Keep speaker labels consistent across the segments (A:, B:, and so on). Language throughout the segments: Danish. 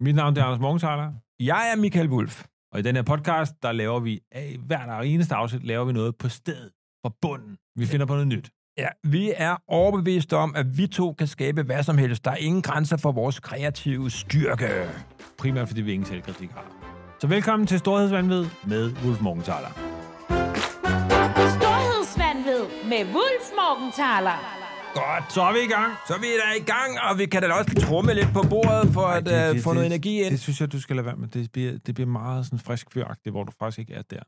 A: Mit navn det er Anders Morgenthaler. Jeg er Michael Wulf. Og i den her podcast, der laver vi, af hver der eneste afsnit, laver vi noget på stedet, fra bunden. Vi finder på noget nyt.
B: Ja, vi er overbeviste om, at vi to kan skabe hvad som helst. Der er ingen grænser for vores kreative styrke.
A: Primært fordi vi ingen selvkritik har. Så velkommen til Storhedsvandved med Wulf Morgenthaler.
C: Storhedsvandved med Wulf Morgenthaler.
B: Godt.
A: Så er vi i gang.
B: Så er vi da i gang, og vi kan da også trumme lidt på bordet for at
A: det-
B: øh,
A: det-
B: få noget energi
A: Det
B: ind.
A: synes jeg, du skal lade være med. Det bliver, det bliver meget sådan frisk fyragtigt, hvor du faktisk ikke er der.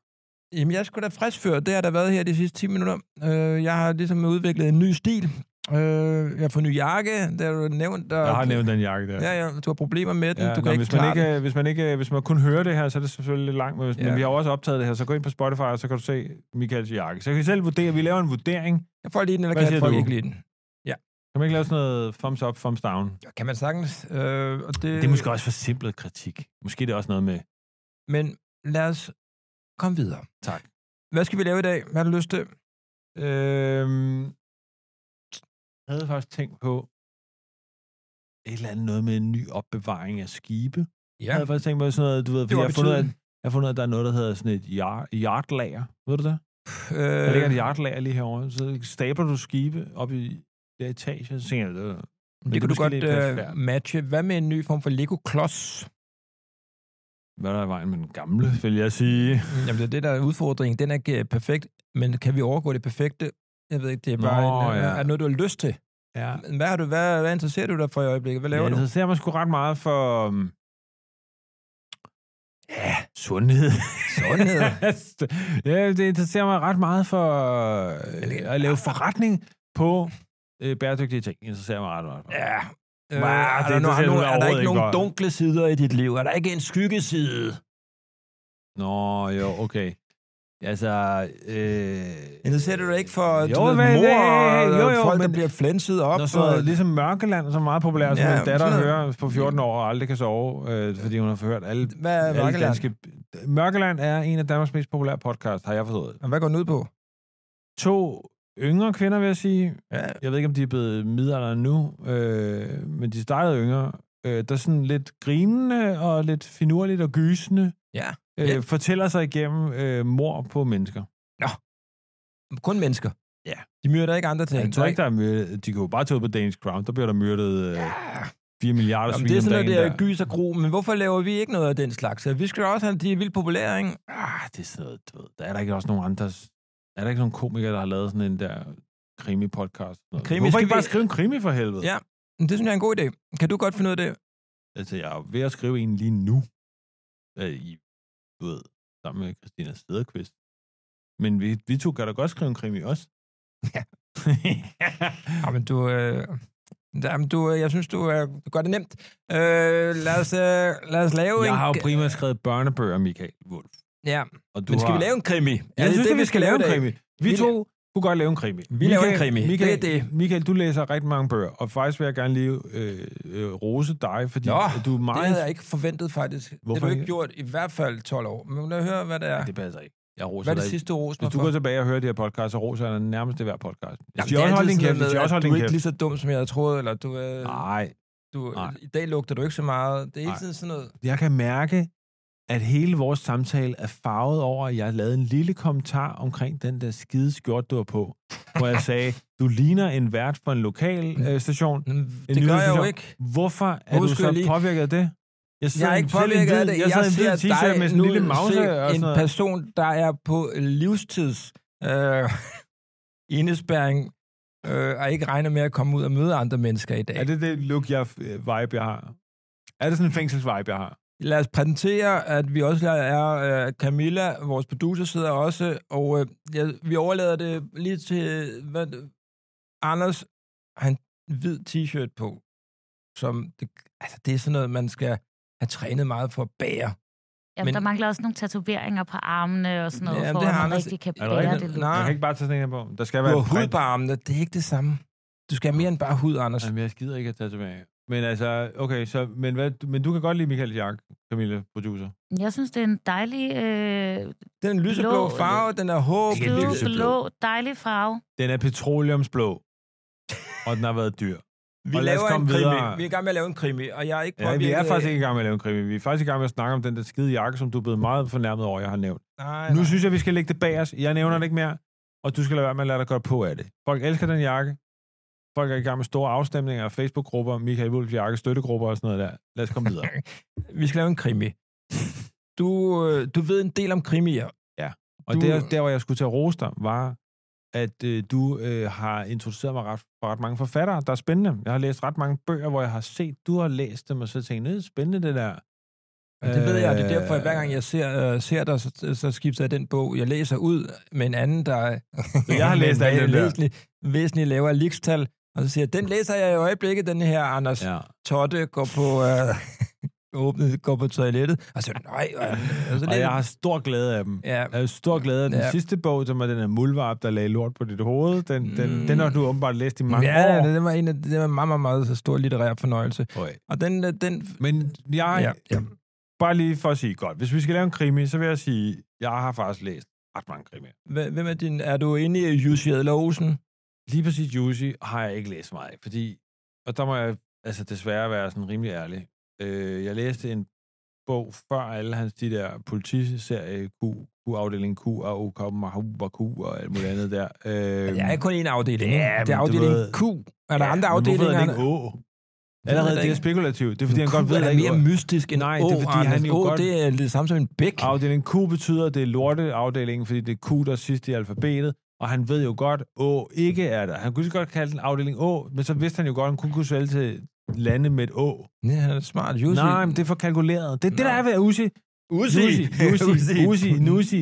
B: Jamen, jeg skulle da frisk før. Det har der været her de sidste 10 minutter. Øh, jeg har ligesom udviklet en ny stil. Øh, jeg har fået en ny jakke, det har du nævnt. Og,
A: Jeg har nævnt den jakke der.
B: Ja, ja, du har problemer med den.
A: Ja,
B: Ja, du
A: nå,
B: kan ikke
A: hvis, man
B: klare den.
A: ikke, hvis, man ikke, hvis man kun hører det her, så er det selvfølgelig lidt langt, men, hvis, ja. men
B: Ja.
A: vi har jo også optaget det her, så gå ind på Spotify, og så kan du se Michaels jakke. Så kan I selv vurdere, vi laver en vurdering.
B: Kan folk lide den, eller
A: Hvad
B: kan
A: siger
B: folk
A: du?
B: ikke lide den?
A: Kan man ikke lave sådan noget thumbs up, thumbs down?
B: Ja, Kan man sagtens. Øh, og det,
A: Det er måske også forsimplet kritik. Måske er det også noget med...
B: Men lad os komme videre.
A: Tak.
B: Hvad skal vi lave i dag? Hvad har du lyst til?
A: Øhm, jeg havde faktisk tænkt på et eller andet noget med en ny opbevaring af skibe. Ja. Jeg havde faktisk tænkt på sådan noget, du ved, fordi
B: var
A: jeg har fundet, ud af,
B: betydelig.
A: jeg har fundet, ud af, at der er noget, der hedder sådan et yard- yardlager. Ved du det?
B: Øh,
A: Der ligger et yardlager lige herovre, så stabler du skibe op i der etage, så tænker jeg, det,
B: det,
A: det
B: kan du
A: måske
B: godt
A: lidt plads
B: øh,
A: værd.
B: matche. Hvad med en ny form for Lego-klods?
A: hvad er der i vejen med den gamle, vil jeg sige.
B: Mm. Jamen, det er det, der er udfordringen. Den er ikke øh, perfekt, men kan vi overgå det perfekte? Jeg ved ikke, det er bare
A: Nå,
B: en, øh,
A: ja.
B: er det noget, du har lyst til.
A: Ja.
B: Men Hvad, har du, hvad, hvad interesserer du dig for i øjeblikket? Hvad laver
A: jeg
B: du?
A: interesserer mig sgu ret meget for... øhm, Ja, sundhed.
B: Sundhed.
A: ja, det interesserer mig ret meget for øh, at lave forretning på øh, bæredygtige ting. interesserer mig ret meget for.
B: ja. Øh,
A: Hva,
B: er,
A: det
B: der nogen, er,
A: interesserer du
B: nogen,
A: dig
B: er der
A: overhovedet
B: ikke
A: ikke
B: nogen
A: for.
B: dunkle sider i dit liv? Er der ikke en skyggeside?
A: Nå, jo, okay. Altså, øh,
B: Interesserer du dig ikke for
A: Jo,
B: du ved,
A: hvad-
B: mor
A: hey, hey,
B: og øh,
A: jo, jo,
B: folk, der
A: men-
B: bliver flænset op?
A: Når sådan
B: og,
A: noget, ligesom Mørkeland, som er meget populær, som
B: Ja,
A: min datter
B: sådan noget.
A: hører på 14 år og aldrig kan sove, øh, fordi hun har forhørt alle,
B: hvad er
A: alle
B: Vakkeland?
A: danske... Mørkeland er en af Danmarks mest populære podcast, har jeg forstået.
B: Hvad går den ud på?
A: To yngre kvinder, vil jeg sige.
B: Ja.
A: Jeg ved ikke, om de er blevet midalderne nu, øh, men de startede yngre. Øh, der er sådan lidt grinende og lidt finurligt og gysende.
B: Ja.
A: Øh,
B: Ja.
A: Fortæller sig igennem øh, mor på mennesker.
B: Kun mennesker.
A: Ja.
B: De myrder ikke andre ting.
A: Jeg tror ikke, der er myrdet. De kunne jo bare tage ud på Danish Crown. Der bliver der myrdet øh,
B: Ja.
A: 4 milliarder
B: Jamen,
A: svin
B: det er
A: om
B: sådan noget,
A: dagen
B: det
A: der.
B: er gys og gro, men hvorfor laver vi ikke noget af den slags? Vi skal da også have, de er vildt populære, ikke?
A: ah, det er sådan noget, du ved, der er der ikke også nogen andre, er der ikke nogen komikere, der har lavet sådan en der krimi-podcast? Noget?
B: Krimi,
A: Hvorfor
B: skal
A: ikke bare
B: vi-
A: skrive en krimi for helvede?
B: Ja. Men det synes jeg er en god idé. Kan du godt finde ud af det?
A: Altså, jeg er ved at skrive en lige nu, øh, i, du ved, sammen med Christina Sederqvist. Men vi, vi to kan da godt skrive en krimi også.
B: Ja. Jamen, du... Øh... Jamen, du, øh, jeg synes, du, øh, du gør det nemt. Øh, lad, os, øh, lad os lave en...
A: jeg har jo primært skrevet børnebøger, Michael Wolf.
B: Ja,
A: Og du
B: men skal
A: har...
B: vi lave en krimi?
A: Jeg synes, det, vi skal lave en krimi. Vi
B: Vi
A: to kunne godt lave en krimi. Vi
B: laver en krimi. Det
A: Michael,
B: er det.
A: Michael, du læser rigtig mange bøger, og faktisk vil jeg gerne lige øh, øh, rose dig, fordi
B: Nå,
A: du er meget...
B: Det havde jeg ikke forventet, faktisk. Hvorfor det
A: Hvorfor
B: har du ikke
A: ikke?
B: gjort i hvert fald 12 år. Men lad os høre, hvad det er.
A: det passer ikke. Jeg roser
B: Hvad er det
A: dig ikke.
B: sidste, du roste
A: Hvis
B: mig
A: du
B: for?
A: går tilbage og hører det her podcast, så roser jeg dig nærmest det hver podcast. Hvis
B: Jamen,
A: de
B: det er
A: også holder
B: altid
A: din
B: sådan
A: kæft, hvis
B: noget
A: de
B: med,
A: også holder
B: at Du
A: din
B: er ikke
A: kæft.
B: lige så dum, som jeg havde troet, eller du, øh,
A: Nej,
B: du
A: nej.
B: i dag lugter du ikke så meget. Det er hele
A: Nej.
B: tiden sådan noget.
A: jeg kan mærke, at hele vores samtale er farvet over, at jeg lavede en lille kommentar omkring den der skide skjort, du var på, hvor jeg sagde, du ligner en vært for en lokal øh, station.
B: Men Det gør jeg jo
A: nyhedsstation.
B: ikke.
A: Hvorfor er
B: Hvorfor
A: du
B: skulle
A: så
B: jeg lige-
A: påvirket af det? sidder
B: Jeg er
A: i-
B: ikke
A: sidder i en
B: påvirket af
A: hvid-
B: det.
A: Jeg, sidder i en hvid
B: ser
A: t-shirt
B: dig
A: med sådan en lille
B: nu
A: mouse
B: se
A: og sådan
B: en
A: noget.
B: person, der er på livstids øh, indespæring, øh, og ikke regner med at komme ud og møde andre mennesker i dag.
A: Er det det look, jeg, øh, vibe, jeg har? Er det sådan en fængselsvibe, jeg har?
B: Lad os præsentere, at vi også er øh, Camilla, vores producer, sidder også, og øh, ja, vi overlader det lige til, øh, hvad, Anders har en hvid t-shirt på, som, det, altså det er sådan noget, man skal have trænet meget for at bære.
C: Jamen,
B: Men-
C: men, der mangler også nogle tatoveringer på armene og sådan noget,
B: Ja,
C: ja, for
B: det
C: at
B: har
C: man
B: Anders-
C: rigtig kan
A: Er det
C: bære
A: rigtigt?
C: det.
B: Nej.
C: lidt.
A: Jeg kan ikke bare tage sådan en her på. Der skal
B: Ah. Du
A: være
B: har
A: en
B: hud
A: print.
B: på armene, det er ikke det samme. Du skal have mere end bare hud, Anders.
A: Jamen, jeg skider ikke at tatovere. Men altså, okay, så, men, hvad, men du kan godt lide Michael Jark, Camille, producer.
C: Jeg synes, det er en dejlig, øh,
B: Den er lyseblå
C: Blå-
B: farve, den er håb.
A: Ikke en
C: skide
A: lyseblå.
C: blå, dejlig farve.
A: Den er petroleumsblå, og den har været dyr.
B: Vi
A: os
B: laver en
A: komme
B: krimi.
A: videre.
B: Vi er i gang med at lave en krimi, og jeg er ikke
A: Ja, vi er
B: påvirket
A: faktisk
B: af-
A: ikke i gang med at lave en krimi. Vi er faktisk i gang med at snakke om den der skide jakke, som du er blevet meget fornærmet over, jeg har nævnt.
B: Nej,
A: Nu
B: nej.
A: synes jeg, vi skal lægge det bag os. Jeg nævner det ikke mere, og du skal lade være med at lade dig godt på af det. Folk elsker den jakke. Folk er i gang med store afstemninger af Facebook-grupper, Michael Wulff jakke, støttegrupper og sådan noget der. Lad os komme videre.
B: Vi skal lave en krimi. Du, øh, du ved en del om krimier.
A: Og
B: Du-
A: der, der, hvor jeg skulle til at rose dig, var, at øh, du øh, har introduceret mig ret, for ret mange forfattere, der er spændende. Jeg har læst ret mange bøger, hvor jeg har set, du har læst dem, og så tænkt, "Nå, det er spændende det der.
B: Og det ved jeg, og det er derfor, at
A: Øh,
B: hver gang jeg ser, øh, ser dig, så, så skifter jeg den bog, jeg læser ud med en anden, der er-
A: Øh, jeg har
B: med
A: læst
B: en
A: alle dem der.
B: væsentligt, væsentligt lavere likstal, og så siger jeg, den læser jeg i øjeblikket, den her Anders ja.
A: Ja.
B: Totte går på, øh, åbnet, går på toilettet, og så er det, nej, og, og så
A: Og jeg har stor glæde af dem.
B: ja,
A: Jeg har stor glæde af den
B: Ja.
A: ja. sidste bog, som var den her mulvarp, der lagde lort på dit hoved. Den, den,
B: Mm.
A: mm. den har du åbenbart læst i mange
B: ja,
A: år.
B: det, det var en af det var en meget, meget, meget stor litterær fornøjelse.
A: Øj.
B: Og den, øh, den
A: Men jeg, ja,
B: Ja, ja.
A: ja. bare lige for at sige godt, hvis vi skal lave en krimi, så vil jeg sige, jeg har faktisk læst ret mange krimier.
B: Hva- Hvem er din... Er du inde i Jussi Adler Olsen?
A: Lige præcis Juicy har jeg ikke læst meget, af, fordi, og der må jeg altså desværre være sådan rimelig ærlig. Øh, jeg læste en bog før alle hans de der politiserie Q, Q-afdeling Q og O, og Q og alt muligt andet der. Øh,
B: Der er kun én afdeling.
A: Ja,
B: ikke? det er
A: men du
B: afdeling
A: ved-
B: Q. Er der andre
A: Men
B: afdelinger?
A: hvorfor hedder det ikke Å?
B: ved
A: Allerede
B: det
A: det er
B: ikke.
A: spekulativt. Det er fordi, han godt ved,
B: Q
A: at
B: er
A: der ikke
B: mere mystisk end
A: Nej,
B: O,
A: det er, fordi
B: Anders.
A: han jo
B: O,
A: godt-
B: det er det samme som en bæk.
A: Afdeling Q betyder, at det er lorteafdelingen, fordi det er Q, der er sidst i alfabetet, og han ved jo godt, Å ikke er der. Han kunne lige så godt kalde den afdeling Å, men så vidste han jo godt, at han kun kunne sælge til lande med et Å.
B: Ja, han er smart. Jussi.
A: Nej, men det er for kalkuleret. Det er det, der
B: Nå.
A: er ved Uzi. Uzi, Uzi, Nusi.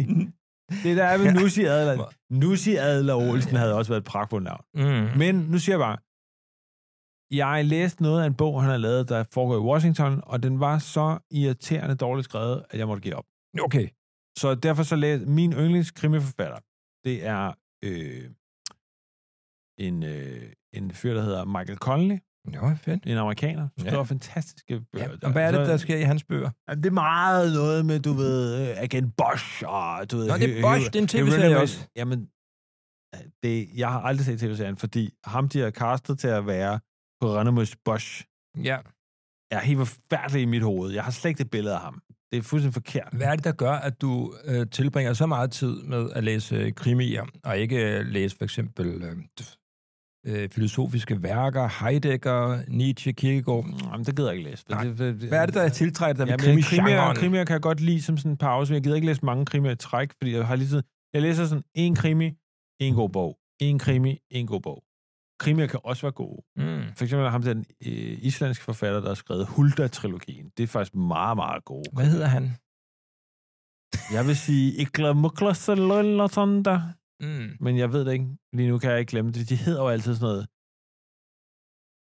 A: Det der er ved Nusi Adler. Nusi Adler Olsen havde også været et pragtfuldt navn.
B: Mm.
A: Men nu siger jeg bare, jeg læste noget af en bog, han har lavet, der foregår i Washington, og den var så irriterende dårligt skrevet, at jeg måtte give op.
B: Mm. Okay.
A: Så derfor så læste min yndlingskrimiforfatter, det er øh, en, øh, en fyr, der hedder Michael Conley,
B: Jo, fedt.
A: en amerikaner, der
B: Ja.
A: skriver fantastiske bøger.
B: Ja, og hvad er det,
A: Så-
B: der sker i hans bøger?
A: Jamen, Det er meget noget med, du ved, øh, Agent Bosch og du ved...
B: Nå, det er
A: Hy-
B: Bosch,
A: Hy-
B: det er en
A: Hy-
B: tv-serie
A: Hy-
B: også.
A: Jamen, øh, det, jeg har aldrig set tv-serien, fordi ham, de har castet til at være Hieronymus Bosch,
B: Ja.
A: er helt forfærdelig i mit hoved. Jeg har slet ikke et billede af ham. Det er fuldstændig forkert.
B: Hvad er det, der gør, at du øh, tilbringer så meget tid med at læse øh, krimier, og ikke øh, læse for eksempel øh, øh, filosofiske værker, Heidegger, Nietzsche, Kierkegaard?
A: Jamen, det gider jeg ikke læse.
B: Nej.
A: Det, det, det,
B: Hvad er det, der er tiltrækket dig ved
A: Jamen, krimier, krimier,
B: krimi-genren?
A: krimier kan jeg godt lide som sådan en pause, men jeg gider ikke læse mange krimier i træk, fordi jeg har lige tiden... Jeg læser sådan en krimi, en god bog. En krimi, en god bog. Krimier kan også være gode.
B: Mm.
A: For eksempel er ham den øh, islandske forfatter, der har skrevet Hulda-trilogien. Det er faktisk meget, meget god.
B: Hvad hedder han?
A: Jeg vil sige Ikla Muklasalolatonda,
B: Mm.
A: men jeg ved det ikke. Lige nu kan jeg ikke glemme det. De hedder jo altid sådan noget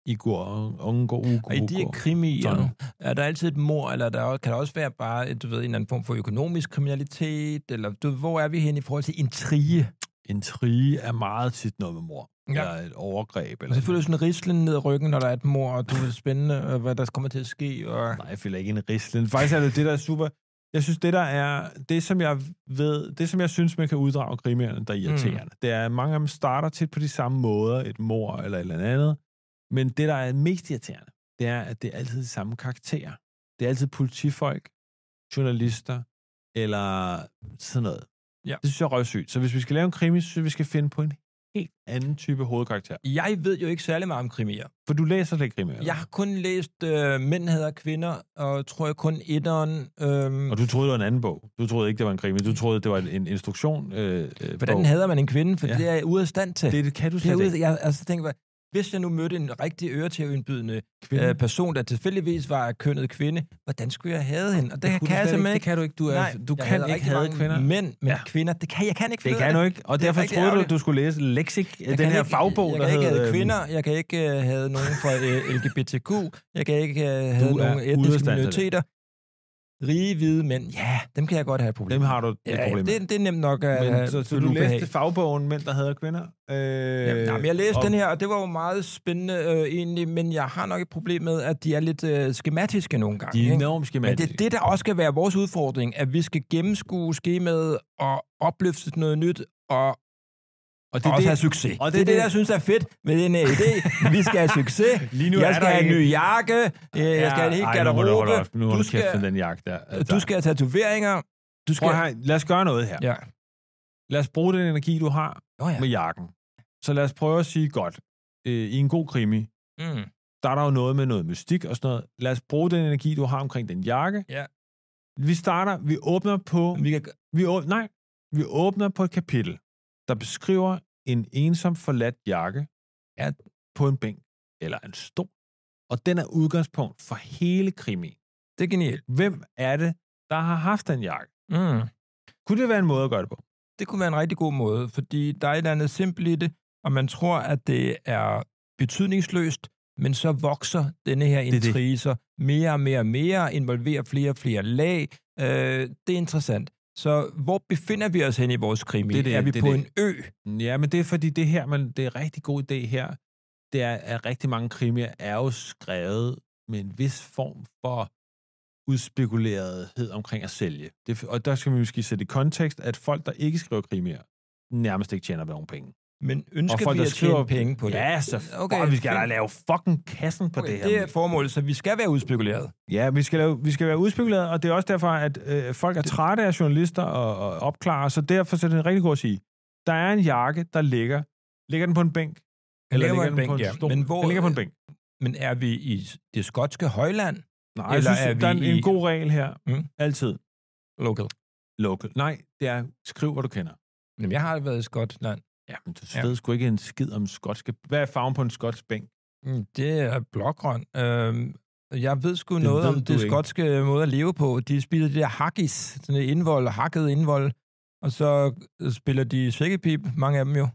A: Igur, Ungo, Ugo,
B: Og i de her
A: Ugo.
B: krimier,
A: Sådan.
B: er der altid et mor, eller der også- kan der også være bare et, du ved, en eller anden form for økonomisk kriminalitet, eller du, ved, hvor er vi hen i forhold til intrige? Altså,
A: Intrige er meget tit noget med mor.
B: Ja.
A: Ja. Eller et overgreb.
B: Og
A: Eller
B: selvfølgelig sådan en rislen ned ad ryggen, når der er et mor, og du er spændende, og hvad der kommer til at ske. Og...
A: Nej, jeg føler ikke en rislen. Faktisk er det det, der er super... Jeg synes, det der er... Det, som jeg ved... Det, som jeg synes, man kan uddrage krimierne, der er irriterende, mm. det er, at mange af dem starter tit på de samme måder, et mor eller et eller andet. Men det, der er mest irriterende, det er, at det er altid de samme karakterer. Det er altid politifolk, journalister eller sådan noget.
B: Ja.
A: Det synes jeg er røvsygt. Så hvis vi skal lave en krimi, så synes jeg, vi skal finde på en helt anden type hovedkarakter.
B: Jeg ved jo ikke særlig meget om krimier.
A: For du læser slet ikke krimier. eller?
B: Jeg har kun læst øh, Mænd hader kvinder, og tror jeg kun etteren. Øhm,
A: Og du troede, det var en anden bog. Du troede ikke, det var en krimi. Du troede, det var en, en instruktion. Øh, øh,
B: hvordan
A: bog.
B: hader man en kvinde? For ja.
A: Ja.
B: det er jeg ude af stand til. Det,
A: Det, det kan du
B: det er
A: slet
B: ude,
A: ikke.
B: jeg, altså, tænker, jeg, hvis jeg nu mødte en rigtig øretævindbydende
A: Kvinde.
B: øh, person, der tilfældigvis var af kønnet kvinde, hvordan skulle jeg have hende? Og det,
A: kunne du
B: kan jeg
A: slet
B: simpelthen
A: Det
B: ikke.
A: kan du ikke. Du, er,
B: Nej,
A: du
B: jeg
A: kan
B: hader
A: ikke
B: rigtig
A: have
B: mange
A: kvinder.
B: Mænd, men ja.
A: Ja.
B: kvinder, det kan, jeg kan ikke
A: Det
B: finde ud
A: kan
B: af
A: du ikke. Og
B: Det er
A: derfor
B: rigtig
A: troede du,
B: ærgerligt.
A: du skulle læse Lexik,
B: Jeg
A: den
B: kan
A: her
B: ikke,
A: fagbog,
B: jeg
A: der
B: kan ikke
A: hedder... øhm,
B: have kvinder, jeg kan ikke øh, have nogen fra øh, LGBTQ, jeg kan ikke øh, have
A: er
B: nogen
A: ude af stand
B: etniske
A: til det.
B: minoriteter. Rige hvide mænd, ja, dem kan jeg godt have et problem
A: Dem har du et
B: ja,
A: problem med.
B: det, det er nemt nok at
A: Men,
B: have
A: så, så
B: et
A: du
B: ubehag.
A: læste fagbogen, mænd, der hader kvinder? Øh,
B: Jamen, jamen, jeg læste
A: og-
B: den her, og det var jo meget spændende øh, egentlig, men jeg har nok et problem med, at de er lidt øh, skematiske nogle gange.
A: De er
B: ikke?
A: enormt
B: Men det
A: skematiske.
B: er det, der også skal være vores udfordring, at vi skal gennemskue skemaet og opløfte noget nyt og
A: Og
B: det, også have succes.
A: og
B: Og det, det er det, jeg synes er fedt med den her idé. Vi skal have succes.
A: Lige nu
B: jeg
A: er
B: skal
A: der
B: have en
A: ikke-
B: ny jakke. øh, Jeg skal have en helt
A: Ej, nu hold op, hold
B: garderobe.
A: op. Nu hold
B: Du
A: du kæft
B: skal-
A: med den jagt der.
B: Du skal have tatoveringer. Du skal...
A: Prøv, at høre, lad os gøre noget her.
B: Ja.
A: Lad os bruge den energi, du har
B: Oh, ja.
A: med jakken. Så lad os prøve at sige, godt, øh, i en god krimi,
B: Mm.
A: der er der jo noget med noget mystik og sådan noget. Lad os bruge den energi, du har omkring den jakke.
B: Ja.
A: Vi starter, vi åbner på,
B: Vi kan...
A: vi åbner, nej, vi åbner på et kapitel, der beskriver en ensom forladt jakke
B: Ja.
A: på en bænk eller en stol. Og den er udgangspunkt for hele krimi.
B: Det er genialt.
A: Hvem er det, der har haft den jakke?
B: Mm.
A: Kunne det være en måde at gøre det på?
B: Det kunne være en rigtig god måde, fordi der er et eller andet simpelt i det, og man tror, at det er betydningsløst, men så vokser denne her
A: er det.
B: intrige så mere og mere og mere, involverer flere og flere lag. Øh, det er interessant. Så hvor befinder vi os hen i vores krimi?
A: Det er det,
B: er vi
A: det er
B: på
A: det.
B: en ø?
A: Ja, men det er fordi det her, man, det er en rigtig god idé her, det er, at rigtig mange krimier er jo skrevet med en vis form for udspekulerethed omkring at sælge. Det, og der skal vi måske sætte i kontekst, at folk, der ikke skriver krimier, nærmest ikke tjener nogen penge.
B: Men
A: og
B: ønsker
A: folk,
B: vi
A: der
B: at tjene penge på det?
A: Ja, så okay,
B: Okay,
A: vi skal da
B: fint.
A: lave fucking kassen på
B: okay,
A: det her.
B: det er formålet, så vi skal være udspekuleret.
A: Ja, vi skal, lave, vi skal være udspekuleret, og det er også derfor, at øh, folk er trætte af journalister og, og opklarer, så derfor så er det rigtig godt at sige, der er en jakke, der ligger, ligger den på en bænk, eller
B: ligger
A: ligger
B: på en
A: den
B: bænk,
A: på en
B: ja.
A: stol,
B: Men hvor-
A: den ligger på en bænk.
B: Men er vi i det skotske højland?
A: Nej,
B: eller
A: jeg
B: er
A: synes, der er en,
B: vi
A: en
B: i-
A: god regel her,
B: Mm.
A: altid,
B: Local.
A: local. Nej, det er, skriv, hvad du kender.
B: Jamen, jeg har været i Skotland.
A: Ja, men du
B: Ja.
A: ved sgu ikke en skid om skotske... Hvad er farven på en skotsk bænk?
B: Mm, Det er blågrøn. Øhm, jeg ved sgu
A: Det
B: noget
A: ved
B: om
A: du
B: det
A: ikke.
B: skotske øh, måde at leve på. De spiller det der haggis, sådan et indvold, hakket indvold, og så øh, spiller de sækkepip, mange af dem jo. Øh,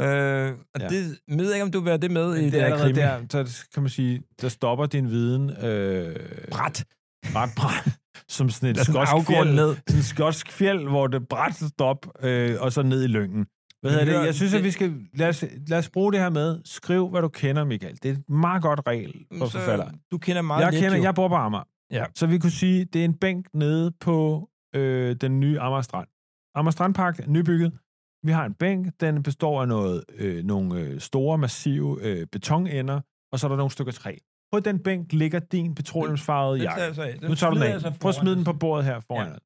B: og
A: Ja.
B: ja. det jeg ved ikke, om du vil have det med i
A: Det
B: det
A: er
B: her
A: allerede
B: krimi.
A: der, så kan man sige, der stopper din viden øh,
B: Bræt.
A: ret bræt, som sådan et
B: Der er sådan en
A: skotsk
B: afgrund
A: fjeld.
B: ned.
A: sådan en skotsk fjeld, hvor det bræt stop, øh, og så ned i lyngen. Hvad hedder det?
B: Hør,
A: Jeg synes,
B: det-
A: at vi skal... Lad os, lad os bruge det her med, skriv, hvad du kender, Michael. Det er et meget godt regel for
B: Så
A: forfatter.
B: Du kender meget
A: Jeg,
B: lidt,
A: kender,
B: jo.
A: jeg bor på Amager.
B: Ja.
A: Så vi kunne sige, det er en bænk nede på øh, den nye Amager Strand. Amager Strandpark er nybygget. Vi har en bænk, den består af noget, øh, nogle øh, store, massive øh, betonender, og så er der nogle stykker træ. På den bænk ligger din petroleumsfarvede
B: Den tager
A: jakke.
B: jeg så af. Den
A: Nu tager du
B: smider
A: den
B: jeg så
A: af. Prøv at
B: foran
A: smide den på
B: os.
A: bordet her foran
B: Ja.
A: ja.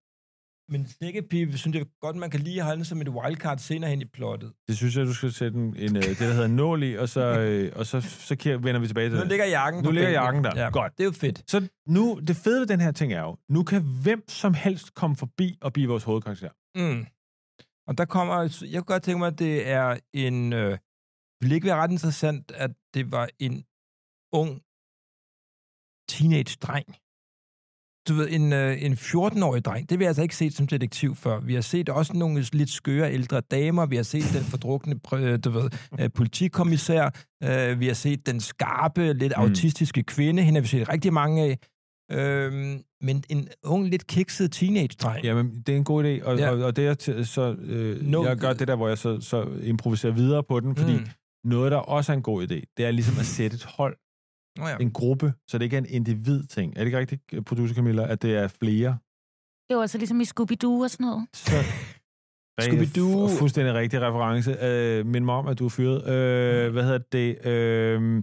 B: Men sækkepip, synes jeg godt, man kan lige holde som et wildcard senere hen i plottet.
A: Det synes jeg, du skal sætte en, en øh, det, der hedder en nål i, og så, øh, og så, så kigger- vender vi tilbage til
B: Nu
A: det.
B: ligger jakken
A: Nu
B: på
A: ligger
B: bænken.
A: jakken der.
B: Ja.
A: Godt.
B: Det er jo fedt.
A: Så nu, det fede ved den her ting er jo, nu kan hvem som helst komme forbi og blive vores hovedkarakter.
B: Mm. Og der kommer, altså, jeg kunne godt tænke mig, at det er en, øh, ville det ikke være ret interessant, at det var en ung teenage-dreng. Du ved, en, øh, en 14-årig dreng, det har vi altså ikke set som detektiv før. Vi har set også nogle lidt skøre ældre damer, vi har set den fordrukne pr- øh, du ved, øh, politikommissær, øh, vi har set den skarpe, lidt
A: Mm.
B: mm. autistiske kvinde, hende har vi set rigtig mange af. Øhm, men en ung, lidt kikset teenage-dreng.
A: Jamen, det er en god idé, og, ja.
B: Ja.
A: og, og det er til- så, øh,
B: Nå,
A: jeg gør det der, hvor jeg så, så improviserer videre på den, fordi mm. noget, der også er en god idé, det er ligesom at sætte et hold,
B: Nå ja.
A: en gruppe, så det ikke er en individ-ting. Er det ikke rigtigt, producer Camilla, at det er flere?
C: Det var altså ligesom i Scooby-Doo og sådan noget.
A: Så...
B: Scooby-Doo.
A: Fu- Fuldstændig rigtig reference. Øh, mind mig om, at du er fyret.
B: Mm.
A: Øh, hvad hedder det? Øh,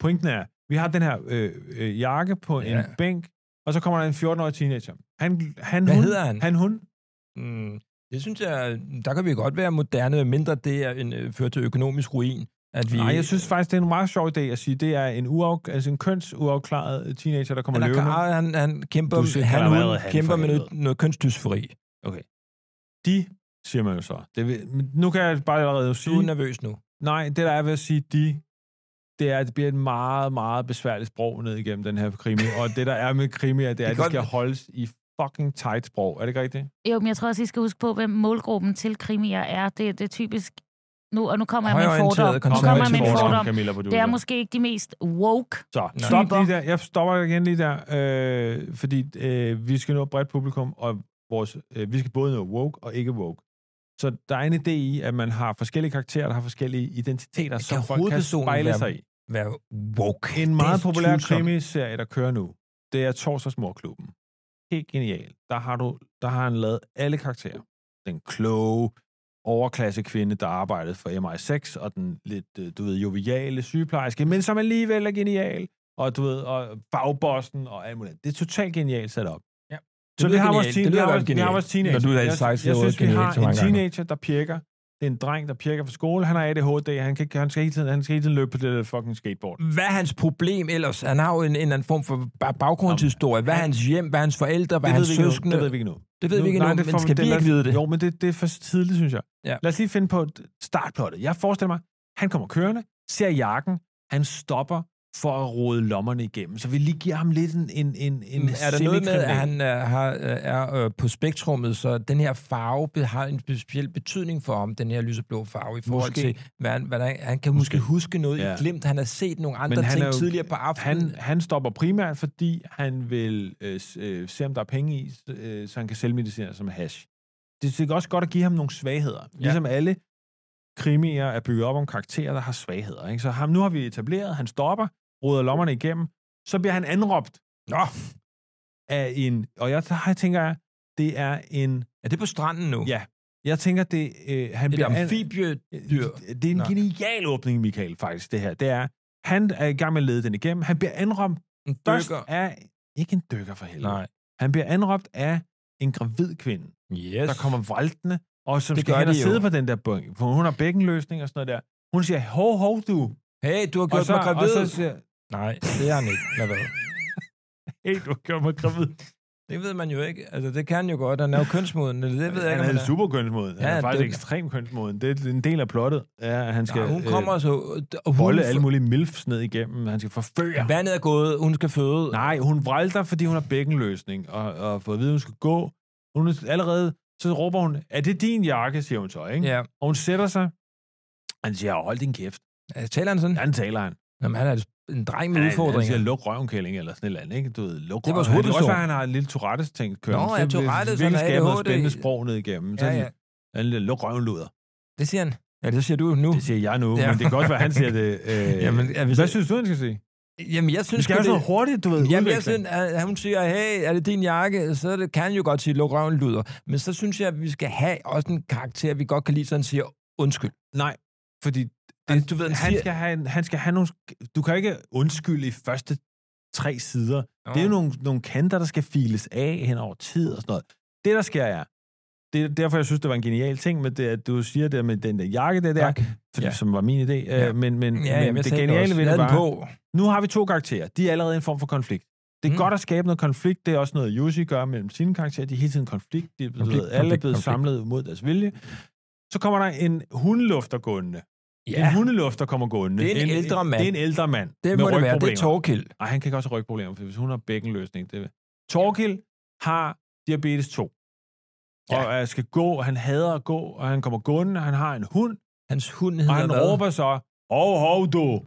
A: pointen er, vi har den her øh, øh, jakke på ja.
B: Ja.
A: en bænk, og så kommer der en 14-årig teenager. Han, han,
B: Hvad
A: hun,
B: hedder han?
A: Han, hun.
B: Mm, det synes jeg, der kan vi godt være moderne, medmindre det er en, øh, fører til økonomisk ruin. At vi,
A: Nej, jeg synes faktisk, det er en meget sjov idé at sige, det er en, uaf, altså en kønsuafklaret teenager, der kommer
B: han,
A: løbende.
B: er, han, han kæmper,
A: Du siger,
B: han,
A: kan der
B: hun,
A: være, han
B: kæmper
A: for
B: med noget,
A: helvede.
B: noget kønsdysfori.
A: De, siger man jo så. Det vil, men nu kan jeg bare allerede
B: Du er
A: sige,
B: nervøs nu.
A: nej, det der er ved at sige de, det er, at det bliver et meget, meget besværligt sprog ned igennem den her krimi. Og det, der er med krimi, er, det er, at det
B: kan godt-
A: skal holdes i fucking tight sprog. Er det ikke rigtigt?
C: Jo, men jeg tror også, I skal huske på, hvem målgruppen til krimier er. Det, det er typisk... Nu, og nu kommer jeg med en
B: Højorienteret
C: fordom. Nu
B: konservativ
C: kommer jeg med en
B: fordom.
C: fordom.
A: Camilla, hvor du
C: Det er måske ikke de mest woke.
A: Så
B: Nej.
A: stop
C: Typer.
A: lige der. Jeg stopper igen lige der, øh, fordi øh, vi skal nå et bredt publikum, og vores, øh, vi skal både nå woke og ikke woke. Så der er en idé i, at man har forskellige karakterer, der har forskellige identiteter,
B: Kan
A: som folk kan
B: hovedpersonen
A: spejle
B: være-
A: sig i.
B: Vær woke.
A: En meget
B: Det er
A: populær
B: tvivlsomt.
A: krimiserie, der kører nu, det er Torsdags Morklubben. Helt genial. Der har, du, der har han lavet alle karakterer. Den kloge, overklasse kvinde, der arbejdede for MI6, og den lidt, øh, du ved, joviale sygeplejerske, men som alligevel er genial, og du ved, og bagbossen og alt muligt. Det er totalt genialt sat op.
B: Ja.
A: Så
B: lyder
A: vi har, vores
B: genialt.
A: teen,
B: Det
A: vi,
B: lyder
A: har
B: i
A: vores,
B: hvert fald
A: vi har
B: genialt.
A: vores teenager.
B: Når du har
A: Jeg-
B: sagt, så er
A: jeg,
B: ordet
A: synes, vi
B: genialt
A: har
B: så mange
A: en
B: gange.
A: teenager, der pirker. Det er en dreng, der pirker fra skole. Han har ADHD. Han, kan, ikke- han, skal, hele tiden, han skal hele tiden løbe på det der fucking skateboard.
B: Hvad er hans problem ellers? Han har jo en, en eller anden form for ba- baggrundshistorie. Hvad er hans hjem? Hvad er hans forældre? Hvad er
A: det,
B: hans
A: ved vi ikke nu.
B: søskende?
A: det ved vi ikke nu.
B: Det ved vi ikke
A: nej,
B: endnu,
A: det
B: men
A: får-
B: skal
A: det-
B: vi
A: lad
B: ikke
A: os-
B: vide det?
A: Jo, men det, det er for tidligt, synes jeg.
B: Ja.
A: Lad os lige finde på et startplottet. Jeg forestiller mig, han kommer kørende, ser jakken, han stopper for at rode lommerne igennem. Så vi lige giver ham lidt en, en, en, en
B: Mm. er der noget med,
A: semikriminel.
B: at han øh, har, øh, er øh, på spektrummet, så den her farve be- har en speciel betydning for ham, den her lyseblå farve, i
A: Måske.
B: forhold måske. til, hvad han, hvad han, han kan måske, måske huske noget ja.
A: Ja.
B: i glimt. Han har set nogle
A: Men
B: andre
A: han
B: ting
A: er jo-
B: tidligere på aftenen.
A: han, han stopper primært, fordi han vil øh, s- øh, se, om der er penge i, s- øh, så han kan selvmedicinere som hash. Det det er også godt at give ham nogle svagheder. Ja. Ligesom alle krimier er bygget op om karakterer, der har svagheder. Ikke? Så ham, nu har vi etableret, han stopper, ruder lommerne igennem, så bliver han anråbt
B: Nå,
A: af en... Og jeg, der tænker, jeg, det er en...
B: er det på stranden nu?
A: Ja, jeg tænker, det... Øh, han
B: Et
A: bliver an- Øh,
B: amfibie... dyr.
A: det er en
B: Nå.
A: genial åbning, Michael, faktisk, det her. Det er, han er i gang med at lede den igennem. Han bliver anråbt
B: En
A: Først
B: dykker.
A: af, ikke en dykker for helvede.
B: Nej.
A: Han bliver anråbt af en gravid kvinde, yes.
B: Yes.
A: der kommer vraltende, og som
B: Det
A: det skal
B: gør
A: hen og
B: de jo.
A: sidde på den der bønk, for hun har bækkenløsning og sådan noget der. Hun siger, hov, hov du.
B: Hey, du har
A: Og
B: gjort
A: så,
B: mig gravid.
A: og så siger,
B: Nej, det har han ikke. Lad være.
A: hey, du har gjort mig gravid.
B: Det ved man jo ikke. Altså, det kan han jo godt. Han er jo kønsmoden. Det ved jeg ikke, om
A: han
B: han
A: havde
B: er.
A: super kønsmoden. Han
B: Ja,
A: ja, er faktisk
B: det-
A: ekstrem kønsmoden. Det er en del af plottet. Ja, at han skal
B: Nej, hun kommer så... Og
A: øh,
B: hun,
A: bolle alle mulige milfs ned igennem. Han skal forføre.
B: Vandet er gået. Hun skal føde.
A: Nej, hun vralter, fordi hun har bækkenløsning, og, og for at vide, hun skal gå. Hun er allerede, så råber hun, er det din jakke, siger hun så, ikke?
B: Ja.
A: Og hun sætter sig. Han siger, hold din kæft.
B: Altså, taler han sådan?
A: Han taler han.
B: Jamen, han er en dreng med
A: Han- Han
B: udfordringer.
A: siger, luk røven, kælling, eller sådan et eller andet, ikke? Du ved, luk
B: Det er vores
A: røven. Det kan også
B: hovedperson.
A: være, han har en lille Tourettes-ting kørende.
B: Nå, ja,
A: Det vil
B: Tourettes,
A: virkelig
B: han har
A: skabe noget
B: ADHD.
A: spændende sprog ned igennem. Så
B: ja,
A: ja,
B: ja.
A: En lille luk røven luder.
B: Det siger han. Ja, det siger du nu.
A: Det siger jeg nu,
B: Uh. Ja.
A: men det kan også være, han siger det. Øh,
B: Jamen, ja, hvis
A: hvad
B: det-
A: synes du, han skal sige?
B: Jamen, jeg
A: Det
B: synes
A: skal
B: sgu,
A: være sådan
B: det...
A: hurtigt, du ved,
B: Jamen, jeg
A: udveksling.
B: synes, at hun siger, hey, er det din jakke? Så det, kan han jo godt sige, luk røven, luder. Men så synes jeg, at vi skal have også en karakter, vi godt kan lide, så han siger, undskyld.
A: Nej, fordi
B: Altså, du ved, han
A: han,
B: siger-
A: skal have, en- han skal have nogle... Du kan ikke undskylde i første tre sider.
B: Nå.
A: Det er jo nogle, nogle kanter, der skal files af hen over tid og sådan noget. Det, der sker, er... Det er derfor, jeg synes, det var en genial ting, med det, at du siger det med den der jakke, det der,
B: Tak.
A: for,
B: Ja.
A: ja. som var min idé.
B: Ja.
A: Ja. Men, men,
B: Ja,
A: men
B: jamen, jeg
A: det
B: sagde
A: geniale
B: også.
A: ved det
B: Lad den
A: var,
B: på.
A: nu har vi to karakterer. De er allerede en form for konflikt. Det er
B: Mm.
A: mm. godt at skabe noget konflikt. Det er også noget, Jussi gør mellem sine karakterer. De er hele tiden konflikt. De er blevet,
B: Konflikt,
A: alle er blevet
B: konflikt, konflikt.
A: samlet mod deres vilje. Så kommer der en hundelufter gående. Ja. En hundelufter kommer gående.
B: Det er en ældre mand.
A: Det er en ældre mand. med
B: det må det være. Det er
A: rygproblemer.
B: Torkild.
A: Ej, han kan ikke også have rygproblemer, for hvis hun har bækkenløsning. Det... Torgild har diabetes 2.
B: Ja.
A: Ja. Og øh, skal gå, han hader at gå, og han kommer gående, han har en hund,
B: Hans hund
A: og
B: hedder
A: han
B: hvad?
A: råber så, hov, hov du,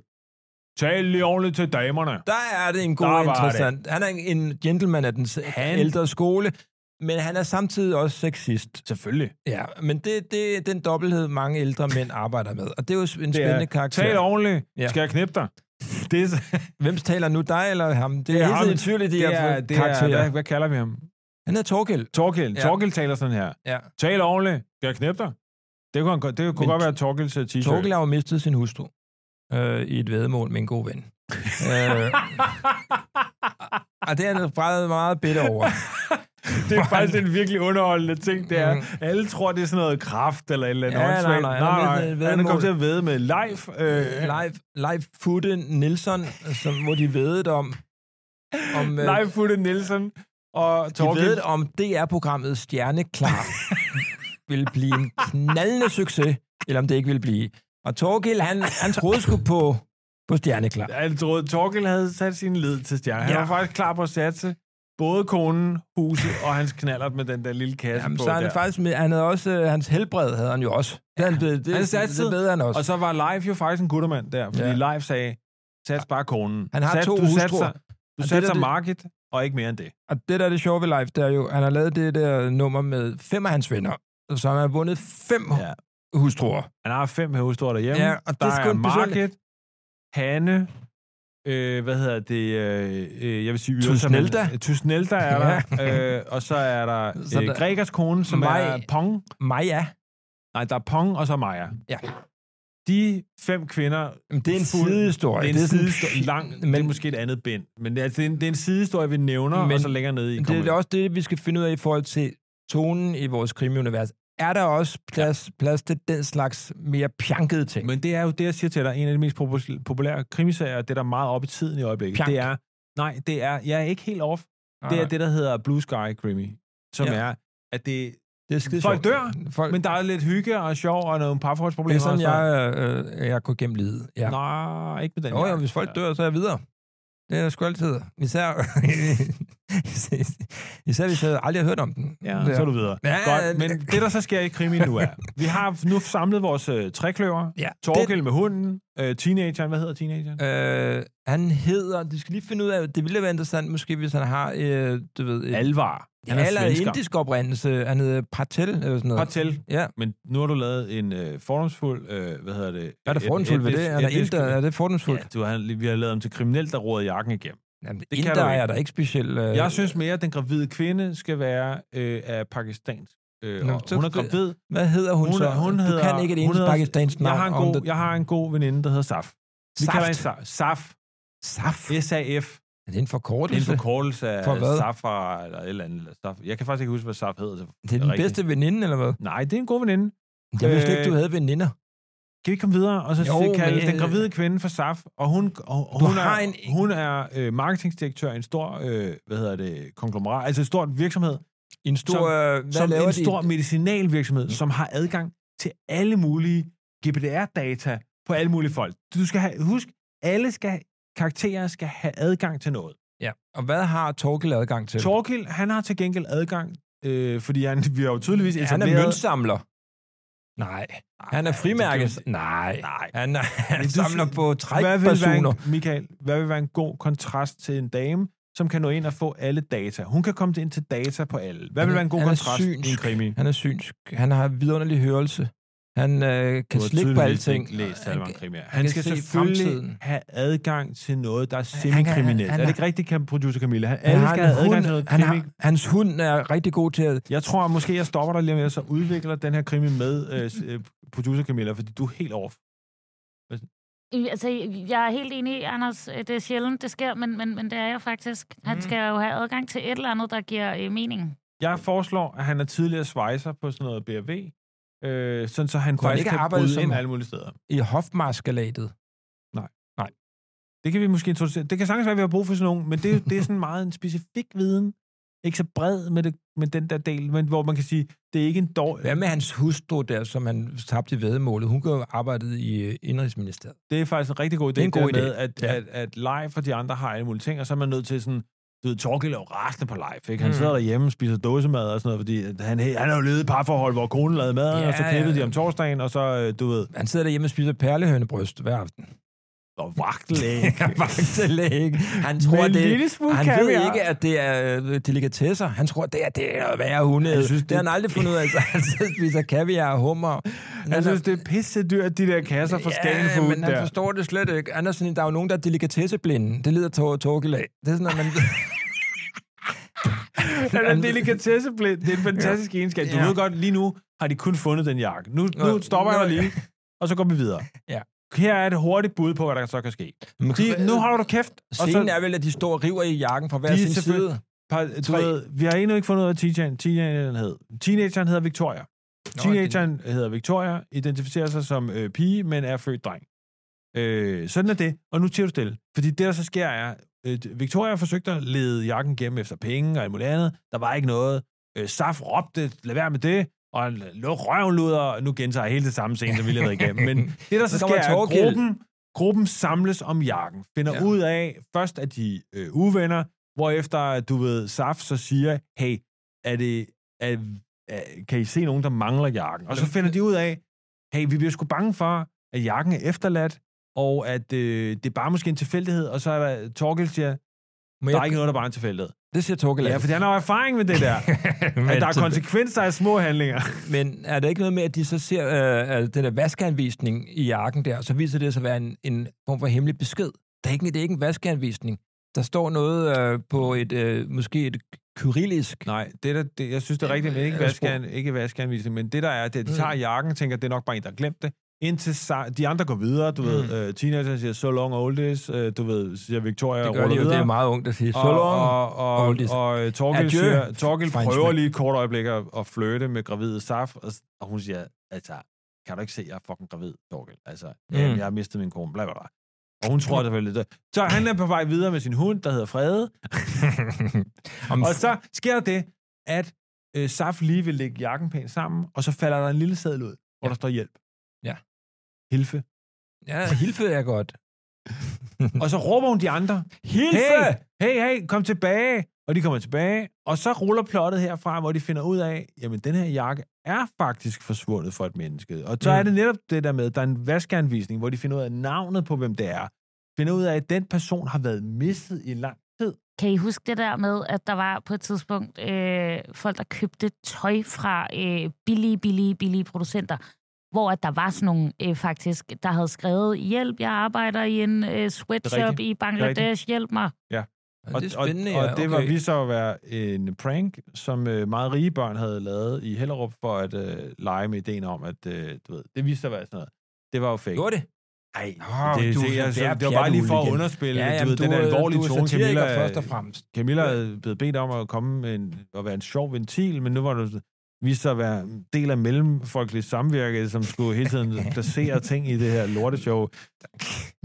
A: tal lige ordentligt til damerne.
B: Der er det en god
A: Der var
B: interessant. Han er en gentleman af den s-
A: Han-
B: ældre skole, men han er samtidig også sexist.
A: Selvfølgelig.
B: Ja, men det, det er den dobbelthed, mange ældre mænd arbejder med. Og det er jo en spændende karakter.
A: Tal ordentligt,
B: Ja.
A: ja. skal jeg knippe dig? Det er,
B: Hvem taler nu, dig eller ham? Det er,
A: er
B: hele
A: ham.
B: tiden i tvivl i de
A: det
B: her
A: er, det er
B: karakterer.
A: hvad, hvad kalder vi ham?
B: Han er Torgild.
A: Torgild.
B: Ja.
A: Ja. Torgild taler sådan her.
B: Ja.
A: Tal ordentligt, skal jeg knippe dig? Det kunne, han, godt- det kunne
B: Men
A: godt være Torgilds øh, t-shirt.
B: Torgild har jo mistet sin hustru øh, i et vædemål med en god ven. øh, og det er han meget, meget bitter over.
A: Det er faktisk en virkelig underholdende ting, det er. Alle tror, det er sådan noget kraft eller et eller andet.
B: Mm. Ja, nej,
A: åndssvagt.
B: nej, han er
A: nej,
B: ved- ved-
A: nej. Han er
B: vedmål.
A: kommet til at vede med live. Øh,
B: Live, live Foote Nielsen, som, hvor de vedede om... om øh,
A: live Futte Nielsen og
B: de
A: Torgild.
B: vedede om DR-programmet Stjerneklar ville blive en knaldende succes, eller om det ikke ville blive. Og Torgild, han, han troede sgu på, på Stjerneklar.
A: Jeg troede, Torgild havde sat sin led til stjerne. Han
B: Ja.
A: var faktisk klar på at satse både konen, huset og hans knallert med den der lille kasse
B: Jamen,
A: på
B: så er
A: der.
B: han faktisk med, han havde også, øh, hans helbred havde han jo også. Det, han, det, det,
A: Han
B: det,
A: satsede,
B: det bedre han også.
A: Og så var Live jo faktisk en guttermand der, fordi
B: Ja.
A: ja. Live sagde, sats bare konen.
B: Han har
A: Sat-
B: to
A: du
B: hustruer.
A: satser- Du
B: det
A: satser
B: der, det-
A: market, og ikke mere end det.
B: Og det der er det sjove ved live, det er jo, han har lavet det der nummer med fem af hans venner, så han har vundet fem ja.
A: Ja.
B: hustruer.
A: Han har fem hustruer derhjemme.
B: Ja, og det
A: der
B: er sgu
A: er
B: en personlig-
A: Market, Hanne, øh, hvad hedder det, øh, øh, jeg vil sige... Yrsa, men-
B: Tusnelda.
A: Tusnelda er der, øh, og så er der
B: Så
A: øh,
B: der-
A: Gregers kone, som
B: Maj-
A: er Pong,
B: Maja,
A: Nej, der er Pong og så Maja.
B: Ja.
A: De fem kvinder
B: Jamen, det er
A: Fuld-
B: en sidehistorie.
A: Det er en
B: sådan-
A: sidehistorie, lang, men, det er måske et andet bind, men det er, altså, det er, en, det er en sidehistorie, vi nævner, men,
B: Men-
A: og så længere nede i
B: det,
A: kommer
B: det er også det, vi skal finde ud af i forhold til tonen i vores krimiunivers. Er der også plads, ja. plads til den slags mere pjankede ting?
A: Men det er jo det, jeg siger til dig, en af de mest popul- populære krimiserier, og det der er meget op i tiden i øjeblikket,
B: Pjank.
A: det er, nej, det er, jeg er ikke helt off, det er det, der hedder Blue Sky Krimi, som
B: Ja.
A: ja. er, at det,
B: det er skide
A: Folk
B: sjovt. Folk,
A: men der er lidt hygge og sjov og nogle
B: det
A: parforholdsproblemer.
B: er sådan,
A: og sådan
B: jeg, øh, jeg går gennem livet. Ja.
A: noget. Nej, ikke med den
B: Jo,
A: her.
B: jo, hvis folk dør, så er jeg videre. Det er sgu altid. Især, især hvis jeg aldrig har hørt om den.
A: Ja, så er du videre.
B: Ja,
A: Godt, men det, der så sker i krimi nu er, vi har nu samlet vores øh, trækløver,
B: Ja,
A: Torkel med hunden, øh, teenageren, hvad hedder teenageren?
B: det, øh, han hedder, det skal lige finde ud af, det ville være interessant måske, hvis han har, øh, du ved, et,
A: Alvar. Han er
B: ja, eller
A: svensker.
B: indisk oprindelse. Han hedder Patel, eller sådan noget.
A: Patel.
B: Ja.
A: Men nu har du lavet en øh, fordomsfuld, øh, hvad hedder det?
B: Er det
A: Et-
B: fordomsfuldt ved
A: etnisk-
B: det? Er der
A: etnisk-
B: inder? Er det fordomsfuldt?
A: Ja, du har, vi har lavet dem til kriminel, der råder jakken igennem.
B: Jamen, det
A: kan
B: inder
A: du
B: er
A: ikke.
B: der ikke specielt... Øh,
A: Jeg synes mere, at den gravide kvinde skal være øh, af pakistansk. Øh,
B: Nå,
A: Nå,
B: så-
A: hun er gravid.
B: Hvad hedder hun,
A: Hun,
B: så?
A: er- hun
B: du
A: hedder,
B: kan ikke et
A: hun
B: eneste
A: hedder-
B: pakistansk navn.
A: jeg har, en
B: om
A: god,
B: det.
A: jeg har en god veninde, der hedder Saf. Vi
B: Saft.
A: kalder hende Saf. Saf.
B: Saft.
A: S-A-F.
B: Er det en
A: Det er en
B: forkortelse?
A: forkortelse af
B: For hvad?
A: Safra eller et eller andet. Eller Saf. Jeg kan faktisk ikke huske, hvad Saf hedder.
B: Det er den
A: Rigtigt.
B: bedste veninde, eller hvad?
A: Nej, det er en god veninde.
B: Jeg vidste
A: Øh,
B: ikke, du havde veninder.
A: Kan vi komme videre? Og så
B: Jo,
A: jo, kalde
B: men- øh,
A: den gravide kvinde for SAF, og hun, og, og
B: Du
A: hun
B: har
A: er,
B: en-
A: hun er øh, marketingdirektør i en stor, øh, hvad hedder det, konglomerat, altså en stor virksomhed,
B: En stor...
A: som-
B: øh, hvad
A: som
B: laver
A: en
B: de?
A: stor medicinalvirksomhed, som har adgang til alle mulige GDPR-data på alle mulige folk. Du skal have, husk, alle skal, karakterer skal have adgang til noget.
B: Ja. Og hvad har Torkel adgang til?
A: Torkild, han har til gengæld adgang, øh, fordi han, vi har jo tydeligvis
B: han
A: etableret...
B: er møntsamler. Nej. Han er frimærkes. Nej.
A: Nej.
B: Han, er, han
A: Men du
B: samler
A: siger-
B: på
A: Hvad vil, være
B: trækpersoner.
A: en, Michael, hvad vil være en god kontrast til en dame, som kan nå ind og få alle data? Hun kan komme ind til data på alle. Hvad vil
B: Han-
A: være en god
B: han er
A: kontrast i en
B: synsk.
A: krimi?
B: Han er synsk. Han har vidunderlig hørelse. Han øh, kan
A: Du har
B: slikke på
A: tydeligvis
B: alting.
A: ikke læst
B: Han-
A: Salman krimi. Han
B: kan
A: skal
B: se
A: selvfølgelig
B: fremtiden.
A: have adgang til noget, der er
B: han-
A: semikriminelt.
B: han-
A: Er det ikke rigtigt, kan producer Camilla? Han,
B: Han
A: alle
B: har
A: skal
B: en
A: have adgang
B: hund.
A: til noget
B: han
A: krimi.
B: har, hans hund er rigtig god til at...
A: Jeg tror at måske, jeg stopper dig lige med, og så udvikler den her krimi med øh, s- øh, producer Camilla, fordi du er helt over.
C: I- Altså, jeg er helt enig, Anders. øh, Det er sjældent, det sker, men, men, men det er jeg faktisk. Han
B: Mm.
C: skal jo have adgang til et eller andet, der giver øh, mening.
A: Jeg foreslår, at han er tidligere svejser på sådan noget BRV, øh, sådan så han
B: Kunne han
A: faktisk
B: ikke
A: kan
B: arbejde
A: bryde
B: som-
A: ind alle mulige steder.
B: I hofmaskalatet.
A: Det kan vi måske introducere. Det kan sagtens være, at vi har brug for sådan nogen, men det, er jo- det er sådan meget en specifik viden. Ikke så bred med, det, med den der del, men hvor man kan sige, det er ikke en dårlig...
B: Hvad med hans hustru der, som han tabte i vedmålet? Hun kunne jo arbejde i øh, Indrigsministeriet.
A: Det er faktisk en rigtig god idé.
B: Det er en god
A: det der
B: idé,
A: Med, at,
B: ja.
A: ja. at, at live for de andre har alle mulige ting, og så er man nødt til sådan... Du ved, Torgild er jo rasende på live, ikke? Han
B: Mm.
A: mm. sidder derhjemme og spiser dåsemad og sådan noget, fordi at han, han har jo levet i parforhold, hvor konen lavede mad,
B: Ja,
A: og så klippede
B: ja.
A: de om torsdagen, og så, øh, du ved,
B: Han sidder derhjemme og spiser perlehønebryst hver aften.
A: og vagtlæg.
B: Vagtelæg. Han tror,
A: Med en
B: det,
A: lille smule
B: han ved
A: kaviar.
B: ikke, at det er øh, delikatesser. Han tror, det er, det er noget værre hunde.
A: Han
B: Synes,
A: synes,
B: det, det har
A: det-
B: han aldrig fundet ud af. Altså, han sidder og spiser kaviar og hummer. Han
A: Jeg
B: er-
A: synes, det er pisse dyrt, de der kasser fra Skagen
B: ja,
A: Food
B: men han
A: der.
B: forstår det slet ikke. Han er sådan, der er jo nogen, der er delikatesseblinde. Det lider Tor Torkel af. Det er sådan, at man...
A: Han er delikatesseblind. Det er en fantastisk egenskab. Du
B: Ja.
A: ved godt, lige nu har de kun fundet den jakke. Nu,
B: Nå,
A: nu stopper jeg
B: nå,
A: dig lige, og så går vi videre.
B: Ja.
A: Her er et hurtigt bud på, hvad der så kan ske.
B: man
A: De, nu holder du kæft. Og
B: Scenen
A: så,
B: er vel, at de står og river i jakken fra hver
A: De er
B: sin
A: selvfølgelig-
B: side.
A: par, du
B: tre.
A: ved, vi har endnu ikke fundet ud af, hvad teenageren- teenageren hed. Teenageren hedder Victoria. Teenageren hedder Victoria, identificerer sig som øh, pige, men er født dreng. Øh, sådan er det, og nu tiger du stille. Fordi det, der så sker, er, øh, Victoria forsøgte at lede jakken gennem efter penge og alt muligt andet. Der var ikke noget. Øh, Saf råbte, lad være med det, og luk røven luder, og nu gentager jeg hele det samme scene, som vi lige har været igennem. Men det, der så
B: Så kommer
A: sker, er, at
B: Torkild.
A: gruppen, gruppen samles om jakken. Finder
B: Ja.
A: ja. ud af, først at de øh, uvenner, hvorefter, du ved, Saf så siger, hey, er det, er, er, kan I se nogen, der mangler jakken? Og så finder de ud af, hey, vi bliver sgu bange for, at jakken er efterladt, og at øh, det er bare måske en tilfældighed, og så er der Torgild siger,
B: Må
A: der
B: jeg,
A: er ikke noget, der er bare en tilfældighed.
B: det siger Torkel
A: Ja,
B: af.
A: for han har jo erfaring med det der, at der er konsekvenser af små handlinger.
B: Men er der ikke noget med, at de så ser øh, øh, den der vaskeanvisning i jakken der, så viser det sig at være en, en form for hemmelig besked? Der er ikke, det er ikke en vaskeanvisning. Der står noget øh, på et, øh, måske et kyrillisk.
A: Nej, det der, det, jeg synes, det er rigtigt, men ikke
B: Eller sprog.
A: vaskean, ikke vaskeanvise, men det der er, det, er, at de
B: Mm.
A: tager jakken, tænker, det er nok bare en, der har glemt det, indtil sa- de andre går videre, du mm. ved, øh, teenager siger, so long old is, øh, du ved, siger Victoria,
B: Det
A: det
B: gør de jo, det
A: videre,
B: er meget ungt at sige. Så
A: og,
B: long.
A: og, og,
B: old is.
A: og, og øh, Torgild,
B: Adieu,
A: siger, Torgild
B: Frenchman.
A: prøver lige et kort øjeblik at, at flirte med gravide Saf, og, s- og hun siger, altså, kan du ikke se, jeg er fucking gravid, Torgild? Altså, mm.
B: Mm.
A: jeg har mistet min kone, bla bla bla. Og hun tror, det var lidt... Så han er på vej videre med sin hund, der hedder Frede,
B: Om
A: og så sker der det, at øh, Saf lige vil lægge jakken pænt sammen, og så falder der en lille seddel ud, hvor
B: Ja.
A: ja. der står hjælp.
B: Ja.
A: Hilfe.
B: Ja, hilfe er godt.
A: Og så råber hun de andre, hey, hey, hey, kom tilbage. Og de kommer tilbage, og så ruller plottet herfra, hvor de finder ud af, jamen den her jakke er faktisk forsvundet fra et menneske. Og så
B: Mm.
A: er det netop det der med, der er en vaskeanvisning, hvor de finder ud af navnet på, hvem det er. Finder ud af, at den person har været mistet i lang tid.
C: Kan I huske det der med, at der var på et tidspunkt øh, folk, der købte tøj fra øh, billige, billige, billige producenter, hvor at der var sådan nogle øh, faktisk, der havde skrevet, hjælp, jeg arbejder i en øh, sweatshop i Bangladesh, hjælp mig.
B: Og det er spændende,
A: og, og,
B: ja.
A: og det var
B: okay.
A: vist så at være en prank, som øh, meget rige børn havde lavet i Hellerup for at øh, lege med ideen om, at øh, du ved, det viste sig at være sådan noget. Det var jo fake.
B: Gjorde det?
A: Nej,
B: Åh,
A: det,
B: du-
A: det, det,
B: det
A: altså,
B: er
A: det var bare lige for at
B: pjatul igen.
A: underspille ja, du ved, den der alvorlige
B: du
A: tone,
B: er satiriker
A: Camilla,
B: først og fremmest.
A: Camilla er blevet bedt om at komme med en, at være en sjov ventil, men nu var det viste sig at være en del af mellemfolkeligt samvirke, som skulle hele tiden placere ting i det her lorteshow.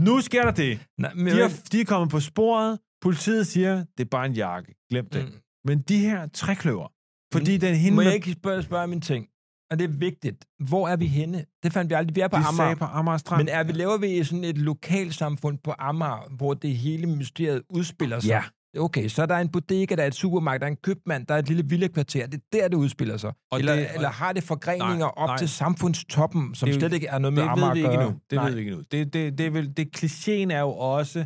A: Nu sker der det.
B: Nej, men,
A: De er, de er kommet på sporet. Politiet siger, det er bare en jakke. Glem det. Mm.
B: Mm.
A: Men de her trækløver, fordi den hende...
B: Må jeg
A: med-
B: ikke spørge, spørge min ting? Og det er vigtigt. Hvor er vi henne? Det fandt vi aldrig. Vi er på
A: de
B: Amager.
A: sagde på Amager Strand.
B: Men er vi, laver vi i sådan et lokalsamfund på Amager, hvor det hele mysteriet udspiller sig?
A: Ja.
B: Okay, så er der en bodega, der er et supermarked, der er en købmand, der er et lille villekvarter. Det er der, det udspiller sig.
A: Og
B: eller,
A: det- og-
B: eller har det forgreninger
A: Nej,
B: op
A: nej.
B: til samfundstoppen, som
A: Det er jo-
B: slet ikke er noget med
A: det
B: Amager
A: ved vi
B: at
A: ikke
B: gøre?
A: nu. Det
B: Nej.
A: ved vi ikke nu. Det, det, det, er vel, det klichéen er jo også,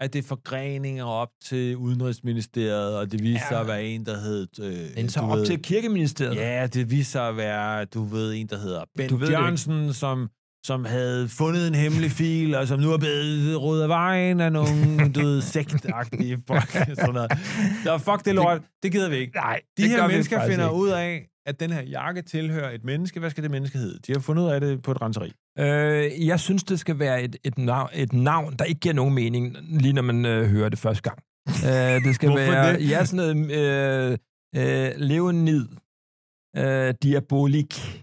A: at det er forgreninger op til Udenrigsministeriet, og det viser
B: Ja.
A: sig at være en, der hed... Øh,
B: Men så
A: du
B: op
A: ved-
B: til kirkeministeriet.
A: Ja, det viser sig at være, du ved, en, der hedder
B: Du ved
A: Bent
B: det ikke.
A: Jørgensen, som som havde fundet en hemmelig fil, og som nu er blevet ryddet af vejen af nogle, du ved, sektagtige folk. Sådan noget. Der, fuck det lort, det gider vi ikke.
B: Nej,
A: De
B: det gør
A: her
B: vi
A: mennesker
B: faktisk
A: finder
B: ikke.
A: ud af, at den her jakke tilhører et menneske. Hvad skal det menneske hedde? De har fundet ud af det på et renseri.
B: Øh, jeg synes, det skal være et, et, navn, et navn, der ikke giver nogen mening, lige når man øh, hører det første gang. øh, det skal
A: Hvorfor
B: være
A: det?
B: Ja, sådan noget, øh, øh, Leonid øh, Diabolik.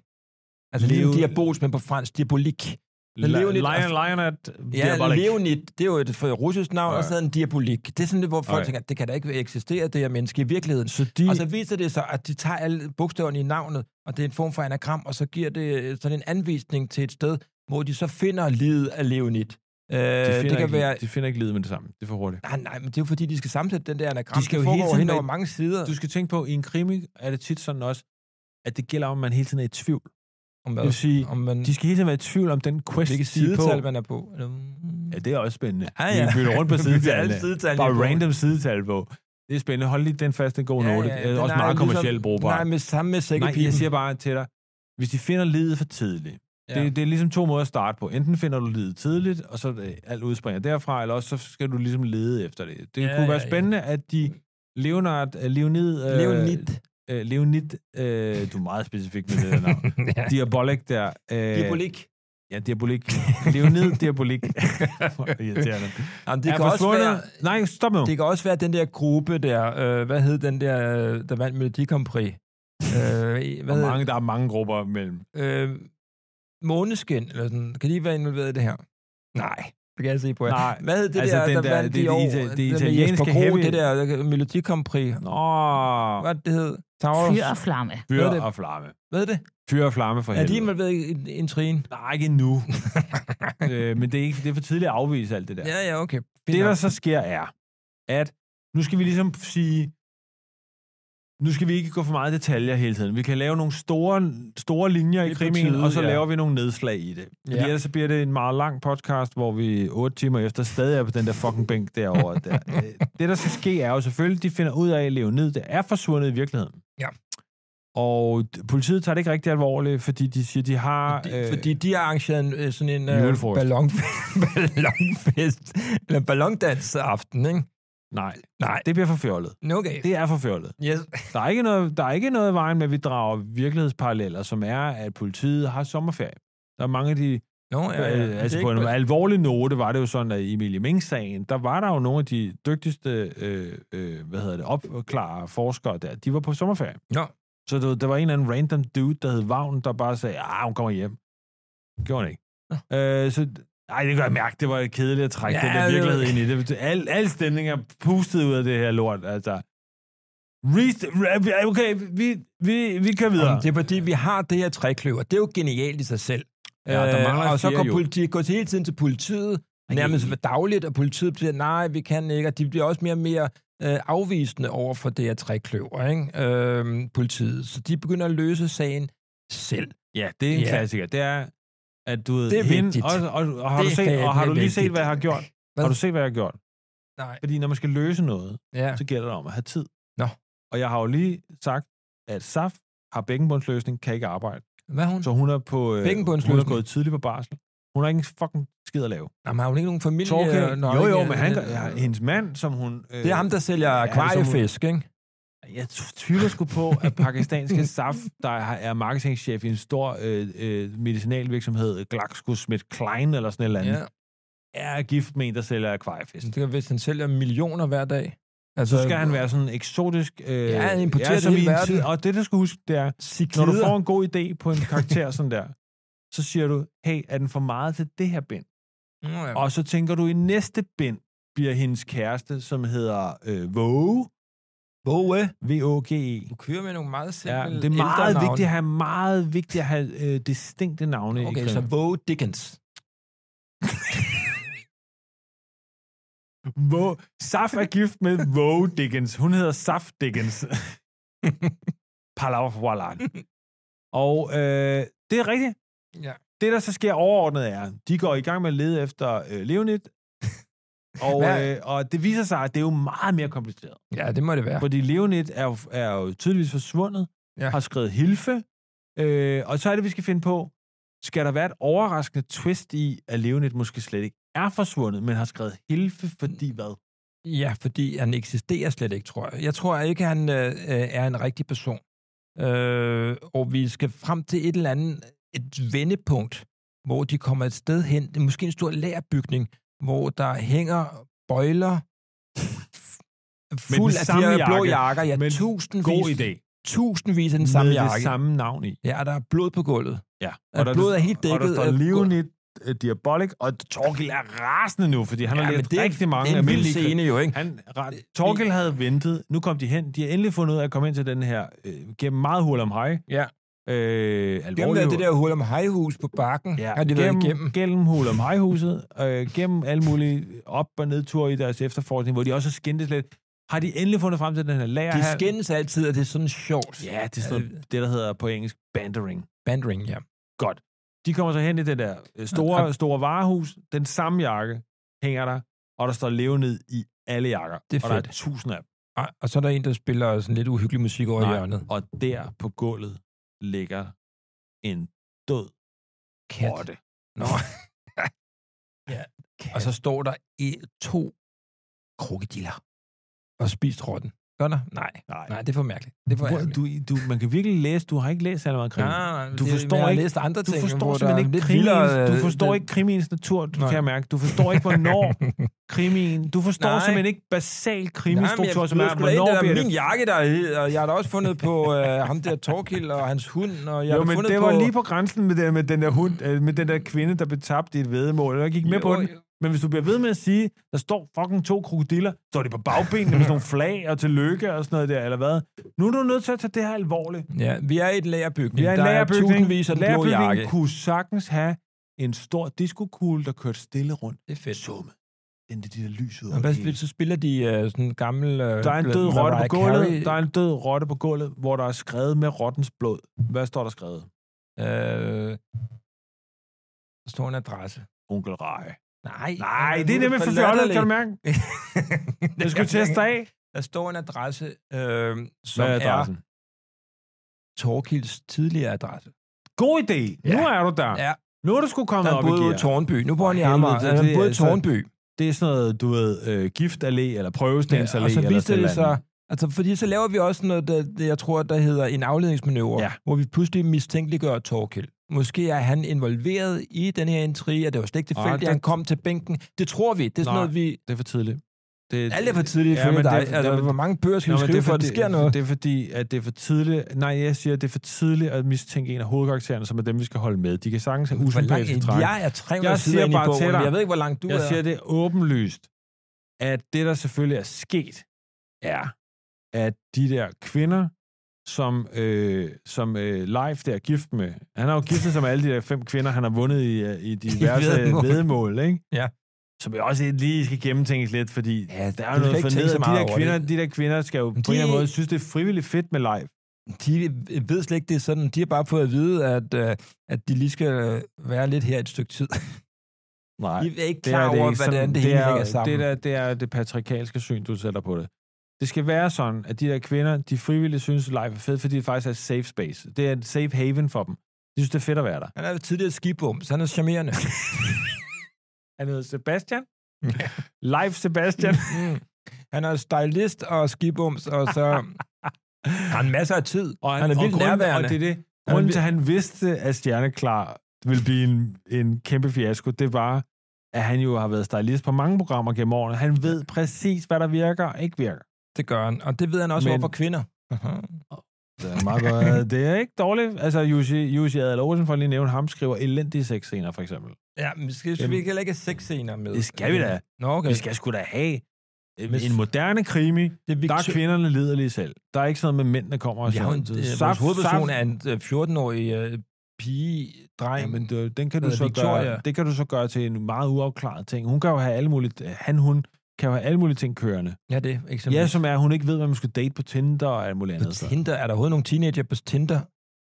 B: Altså Leo...
A: Leo-
B: diabols, men på fransk, diabolik. Leonid-
A: Lion, Lionat.
B: Ja,
A: Diabolik.
B: Leonid, det er jo et for- russisk navn,
A: Ja.
B: og sådan en diabolik. Det er sådan lidt, hvor folk
A: Okay.
B: tænker, det kan da ikke eksistere, det her menneske i virkeligheden.
A: Så de,
B: Og så viser det sig, at de tager alle bogstaverne i navnet, og det er en form for anagram, og så giver det øh, sådan en anvisning til et sted, hvor de så finder livet af Leonid. Øh,
A: de finder
B: det kan
A: ikke,
B: være...
A: de finder ikke livet med det samme. Det er for hurtigt.
B: Nej, nej, men det er jo fordi, de skal sammensætte den der anagram.
A: De skal
B: Det
A: jo hele
B: foregår
A: tiden
B: hen
A: være-
B: over mange sider.
A: Du skal tænke på, i en krimi er det tit sådan også, at det gælder om, at man hele tiden er i tvivl.
B: om,
A: Det vil sige,
B: om man,
A: de skal hele tiden være i tvivl om den quest,
B: hvilket
A: de er på.
B: sidetal man er på. Mm. Eller-
A: Ja, det er også spændende.
B: Ja,
A: Ja,
B: ja.
A: ja. Vi bytter rundt på
B: Vi bytter
A: sidetallene.
B: alle sidetal,
A: Bare
B: vi er på.
A: random sidetal på. Det er spændende. Hold lige den fast, den gode ja, note. Det er også
B: den
A: meget kommercielt
B: ligesom-
A: brugbar.
B: Nej, men sammen med sækkepipen.
A: Nej, jeg siger bare til dig, hvis de finder livet for tidligt,
B: Ja.
A: ja. det, det er ligesom to måder at starte på. Enten finder du livet tidligt, og så øh, alt udspringer derfra, eller også så skal du ligesom lede efter det. Det
B: Ja,
A: ja, kunne
B: ja,
A: være
B: ja.
A: spændende, ja. at de Leonard, øh, Leonid, øh,
B: Leonid.
A: øh, Leonid øh, du er meget specifik med det der navn,
B: ja.
A: Diabolik der. Øh,
B: Diabolik.
A: Ja, Diabolik. Leonid Diabolik. Hvor irriterende.
B: Jamen, det
A: Er
B: kan også
A: forsvundet.
B: være...
A: Nej, stop nu.
B: Det kan også være den der gruppe der, øh, hvad hed den der, øh, der vandt Melodi Grand Prix? Øh, hvad
A: Der er,
B: hed,
A: mange, der er mange grupper mellem.
B: øh, Måneskin, eller sådan. Kan de være involveret i det her? Nej, det kan jeg se på jer.
A: Nej,
B: Hvad hed det
A: altså
B: der,
A: den
B: der,
A: der-
B: vandt
A: det er det
B: i år?
A: ita- det
B: Den med
A: italienske
B: Jesper Krohg,
A: heavy-
B: det der Melodi Grand Prix.
A: Nå,
B: Hvad er det, det hed? Towers?
C: Fyr og flamme.
A: fyr
B: Hvad er det?
A: og flamme.
B: Hvad er det?
A: Fyr og flamme for
B: Er de
A: helvede.
B: involveret i en, en trine?
A: Nej, ikke endnu. øh, men det er, ikke, det er for tidligt at afvise alt det der.
B: Ja, ja, okay. Fint
A: det, der
B: nok.
A: så sker, er, at nu skal vi ligesom sige, nu skal vi ikke gå for meget i detaljer hele tiden. Vi kan lave nogle store, store linjer i
B: Det er på
A: krimien,
B: tide,
A: og så
B: ja.
A: laver vi nogle nedslag i det. Fordi
B: Ja.
A: ellers så bliver det en meget lang podcast, hvor vi otte timer efter stadig er på den der fucking bænk derovre. Der. Øh, Det, der skal ske, er jo selvfølgelig, de finder ud af, at Leonid det er forsvundet i virkeligheden.
B: Ja.
A: Og d- politiet tager det ikke rigtig alvorligt, fordi de siger, de har...
B: Fordi, øh, fordi de har arrangeret en, øh, sådan en øh,
A: Julefrokost.
B: ballon, ballonfest, eller ballondans aften, ikke?
A: øh, Nej,
B: Nej.
A: det bliver for fjollet.
B: Nå, Okay.
A: Det er for fjollet.
B: Yes.
A: Der er ikke noget, der er ikke noget i vejen med, at vi drager virkelighedsparalleller, som er, at politiet har sommerferie. Der er mange af de...
B: Nå, ja, ja.
A: Øh, altså
B: Det er
A: på en
B: ikke-
A: alvorlig note var det jo sådan, at i Emilie Meng-sagen, der var der jo nogle af de dygtigste øh, øh, hvad hedder det, opklare forskere der. De var på sommerferie.
B: Nå.
A: Så du, ved, der var en eller anden random dude, der hed Vagn, der bare sagde, ah, hun kommer hjem. Gjorde hun ikke. Øh, så ej, det kan jeg mærke, det var kedeligt at trække
B: Ja,
A: ja, den der
B: det-
A: virkelighed ind i det. Al, al stemning er pustet ud af det her lort, altså. Rest, re- okay, vi, vi, vi kører videre.
B: Jamen, Det er fordi, vi har det her trækløver. Det er jo genialt i sig selv.
A: Ja, der mangler
B: øh, og så
A: flere
B: går,
A: jo.
B: politi- går det hele tiden til politiet,
A: Ej.
B: nærmest dagligt, og politiet bliver, nej, vi kan ikke, og de bliver også mere og mere øh, afvisende over for det her trækløver, ikke? Øh, politiet. Så de begynder at løse sagen selv.
A: Ja, det er en
B: Ja.
A: yeah. klassiker. Det er, at du ved,
B: Det er
A: hende,
B: vigtigt.
A: Og, og, og, har,
B: Det
A: du
B: er
A: set, og har
B: fandme
A: du lige set,
B: vigtigt.
A: hvad jeg har gjort?
B: Hvad?
A: Har du set, hvad jeg har gjort?
B: Nej.
A: Fordi når man skal løse noget,
B: Ja.
A: så gælder det om at have tid.
B: Nå.
A: Og jeg har jo lige sagt, at SAF har bækkenbundsløsning, kan ikke arbejde.
B: Hvad er hun?
A: Så hun er på... øh,
B: Mm. Bækkenbundsløsning?
A: Hun er gået tidligt på barsel. Hun har ikke en fucking skid at lave.
B: Jamen, har hun ikke nogen familie?
A: Torke,
B: Nå,
A: jo, jo,
B: ikke- øh,
A: men han, der, ja, hendes mand, som hun... Øh,
B: Det er ham, der sælger
A: Ja, som hun-
B: akvariefisk, ikke?
A: Jeg t- tvivler sgu på, at pakistanske SAF, der har- er marketingchef i en stor øh, øh, medicinalvirksomhed, GlaxoSmithKline eller sådan et eller andet,
B: Ja.
A: ja. er gift med en, der sælger akvariefisk.
B: Det er, hvis han sælger millioner hver dag. Altså,
A: Så skal han være sådan eksotisk... Øh,
B: Ja, han importerer det
A: som
B: hele
A: i en
B: verden.
A: og det, du skal huske, det er,
B: Ciklider.
A: når du får en god idé på en karakter sådan der, så siger du, hey, er den for meget til det her bind?
B: Nå, ja.
A: Og så tænker du, i næste bind bliver hendes kæreste, som hedder øh, Våge,
B: Våge.
A: V-O-G-E,
B: Du kører med nogle meget simple
A: E." Ja, det er meget
B: ældrenavne.
A: vigtigt at have, meget vigtigt at have øh, distinkte navne i
B: Okay, så
A: krimi.
B: Våge Dickens.
A: Vå- Saf er gift med Våge Dickens. Hun hedder Saf Dickens. Palavalan. Og øh, det er rigtigt.
B: Ja.
A: Det, der så sker overordnet, er, de går i gang med at lede efter øh, Leonid. Og,
B: Hvad?
A: øh, og det viser sig, at det er jo meget mere kompliceret.
B: Ja, det må det være.
A: Fordi Leonid er, jo- er jo tydeligvis forsvundet,
B: Ja.
A: ja. har skrevet Hilfe, øh, og så er det, vi skal finde på, skal der være et overraskende twist i, at Leonid måske slet ikke er forsvundet, men har skrevet Hilfe, fordi hvad?
B: Ja, fordi han eksisterer slet ikke, tror jeg. Jeg tror ikke, han øh, øh, er en rigtig person. Øh, og vi skal frem til et eller andet, et vendepunkt, hvor de kommer et sted hen. Det er måske en stor lærerbygning, hvor der hænger bøjler fuld
A: den
B: af de
A: samme
B: her blå
A: jakke.
B: jakker. Ja,
A: Men
B: tusindvis, tusindvis af den
A: Den
B: samme
A: samme med
B: jakke.
A: det samme navn i.
B: Ja, og der er blod på gulvet.
A: Ja.
B: Og blodet er helt
A: Og
B: dækket
A: der står
B: af gul-
A: Leonid øh, Diabolik, og Torgil er rasende nu, fordi han ja, har
B: men
A: læst
B: det er-
A: rigtig
B: det
A: mange
B: er en vild
A: almindelige... Øh,
B: scene jo, ikke?
A: Han, Torgil havde ventet, nu kom de hen, de har endelig fundet ud af at komme ind til den her, øh, gennem meget hul om hej,
B: Ja.
A: øh,
B: Gennem
A: alvorlig
B: der, det der hul om hejhus på bakken, ja, har de været
A: gennem,
B: igennem.
A: gennem hul om hejhuset, øh, gennem alle mulige op- og nedture i deres efterforskning, hvor de også har skændtes lidt. Har de endelig fundet frem til den her lager
B: De Øh.
A: her?
B: skændes altid, og det er sådan sjovt.
A: Ja, det er sådan noget, det, der hedder på engelsk bandering.
B: Bandring, ja.
A: Godt. De kommer så hen i det der øh, store, store varehus. Den samme jakke hænger der, og der står levenid i alle jakker.
B: Det er
A: og der er
B: fedt.
A: tusind af dem.
B: Og- Og så er der en, der spiller sådan lidt uhyggelig musik over i
A: Nej.
B: hjørnet.
A: Og der på gulvet ligger en død
B: Kat.
A: rotte.
B: Nå. ja. Og så står der i to krokodiller og spist rotten. Gør der? Nej.
A: Nej.
B: Nej, det er for mærkeligt. Det er for
A: Hvor-
B: ærgerligt.
A: Du, du, man kan virkelig læse, du har ikke læst særlig meget
B: Nej,
A: krim.
B: nej, nej,
A: Du
B: det,
A: forstår
B: men jeg har
A: ikke-
B: læst andre
A: Du
B: ting,
A: forstår
B: hvor der
A: simpelthen
B: er
A: ikke
B: lidt
A: krimiens,
B: vildere,
A: du
B: øh,
A: forstår
B: det-
A: ikke krimiens natur, du
B: Nej.
A: kan jeg mærke. Du forstår ikke, hvornår krimien... Du forstår
B: Nej.
A: Nej. simpelthen ikke basal
B: Nej, men jeg
A: krimistruktur, som
B: ved
A: er,
B: sgu da ikke, det
A: hvornår
B: der
A: bliver
B: min
A: det...
B: jakke, der hed, og jeg har da også fundet på øh, ham der Torkild og hans hund, og jeg har
A: Jo,
B: da
A: men
B: fundet
A: det
B: på...
A: var lige på grænsen med, det, med, den der hund, øh, med den der kvinde, der blev tabt i et vedemål. Jeg gik med
B: Jo,
A: på den.
B: jo.
A: Men hvis du bliver ved med at sige, der står fucking to krokodiller, står de på bagbenene med sådan nogle flag og tillykke og sådan noget der, eller hvad? Nu er du nødt til at tage det her alvorligt.
B: Ja, vi er i et lagerbygning.
A: Vi er en
B: der
A: lærerbygning.
B: er tusindvis af den blå jakke.
A: kunne sagtens have en stor diskokugle, der kørte stille rundt.
B: Det er fedt.
A: Summe. Den der, de der lys ud
B: Og
A: over
B: hvad,
A: det hele.
B: så spiller de øh, sådan en gammel... Øh,
A: Der er en død rotte på
B: Mariah Carey,
A: gulvet. Der er en død rotte på gulvet, hvor der er skrevet med rottens blod. Hvad står der skrevet?
B: Øh, der står en adresse. Øh,
A: Onkel Rej.
B: Nej,
A: Nej, det er nemlig for fjollet, kan du mærke? Jeg skulle teste af.
B: Der står en adresse, øh, som
A: Hvad er
B: er, er
A: adressen?
B: Torkilds tidligere adresse.
A: God idé. Nu
B: Ja.
A: er du der.
B: Ja.
A: Nu er du sgu kommet
B: Han
A: op i
B: boede jo i
A: gear.
B: Tornby. Nu bor han i
A: For helvede,
B: Amager.
A: det-
B: Han
A: det er
B: boede i
A: altså-
B: Tornby.
A: Det er sådan noget, du ved, øh, giftallé eller prøvestensalé.
B: Ja, og så
A: eller
B: viste
A: sådan
B: det
A: noget.
B: sig, altså, fordi så laver vi også noget, der, der, jeg tror, der hedder en afledningsmanøvre,
A: Ja.
B: hvor vi pludselig mistænkeliggør Torkild. Måske er han involveret i den her intrige, og det var slet ikke
A: Ah,
B: tilfældigt, at
A: det-
B: han kom til bænken. Det tror vi. Det er sådan
A: Nej.
B: noget, vi...
A: Det er for tidligt. Det,
B: Alt er for tidligt
A: Ja,
B: ja, ifølge
A: men det
B: dig.
A: er-
B: altså,
A: det er-
B: hvor mange bøger skal vi
A: men
B: skrive, for at
A: fordi-
B: der sker noget?
A: Det er fordi, at det er for tidligt... Nej, jeg siger, at det er for tidligt at mistænke en af hovedkaraktererne, som er dem, vi skal holde med. De kan sagtens have
B: Hvor langt,
A: usympatiske træk.
B: jeg er 300
A: Jeg siger
B: sider inde i
A: bare til
B: bogen.
A: dig.
B: Jeg ved ikke, hvor langt du
A: Jeg
B: er.
A: siger, det er åbenlyst, at det, der selvfølgelig er sket, er, at de der kvinder, som, øh, som øh, Leif der er gift med, han har jo giftet sig med alle de der fem kvinder, han har vundet i, øh, i diverse
B: væddemål.
A: vedmål, ikke?
B: Ja.
A: Som jo også lige skal gennemtænkes lidt, fordi
B: Ja,
A: der er
B: du
A: jo
B: skal
A: noget
B: ikke tænke
A: fornedret.
B: så
A: De
B: meget
A: der,
B: over
A: kvinder, de der kvinder skal jo de... på en eller anden måde synes, det er frivilligt fedt med Leif.
B: De ved slet ikke, det er sådan. De har bare fået at vide, at, øh, at de lige skal øh, være lidt her et stykke tid.
A: Nej.
B: De er ikke klar over,
A: ikke.
B: hvordan
A: Sådan-
B: det hele
A: er-
B: hænger sammen.
A: Det, der, det er det patriarkalske syn, du sætter på det. Det skal være sådan, at de der kvinder, de frivillige synes, at life er fedt, fordi det faktisk er et safe space. Det er et safe haven for dem. De synes, det er fedt at være der.
B: Han er jo tidligere skibum, så han er charmerende.
A: Han hedder Sebastian. Life Sebastian.
B: Mm. Han er stylist og skibums, og så har han masser af tid.
A: Og
B: Han er vildt
A: grunden,
B: nærværende.
A: Og det er det. Grunden
B: vil-
A: til, at han vidste, at Stjerneklar ville blive en, en kæmpe fiasko, det var, at han jo har været stylist på mange programmer gennem årene. Han ved præcis, hvad der virker og ikke virker.
B: Det gør han, og det ved han også
A: Men-
B: Men... overfor kvinder.
A: Det er meget godt. Det er ikke dårligt. Altså, Jussi, Jussi Adel Olsen, for at lige nævne ham, skriver elendige sexscener, for eksempel.
B: Ja, men vi skal, skal
A: Jamen,
B: vi ikke heller ikke have sex scener med.
A: det skal vi da.
B: Nå, okay.
A: Vi skal sgu da have en
B: Hvis-
A: en moderne krimi.
B: Det er
A: Der er kvinderne liderlige selv. Der er ikke sådan noget med mænd, der kommer og
B: Vi har jo en, øh, vores hovedperson er en øh, 14-årig øh, pige, dreng.
A: Ja, men det, den kan du
B: Hedder
A: så
B: Victoria.
A: gøre, det kan du så gøre til en meget uafklaret ting. Hun kan jo have alle mulige, han, hun kan jo have alle mulige ting kørende.
B: ja, det er ikke Altså.
A: Ja, som er, hun ikke ved, hvad man skal date på Tinder og alt muligt
B: på
A: andet. så.
B: Tinder. Er der overhovedet nogle teenager på Tinder?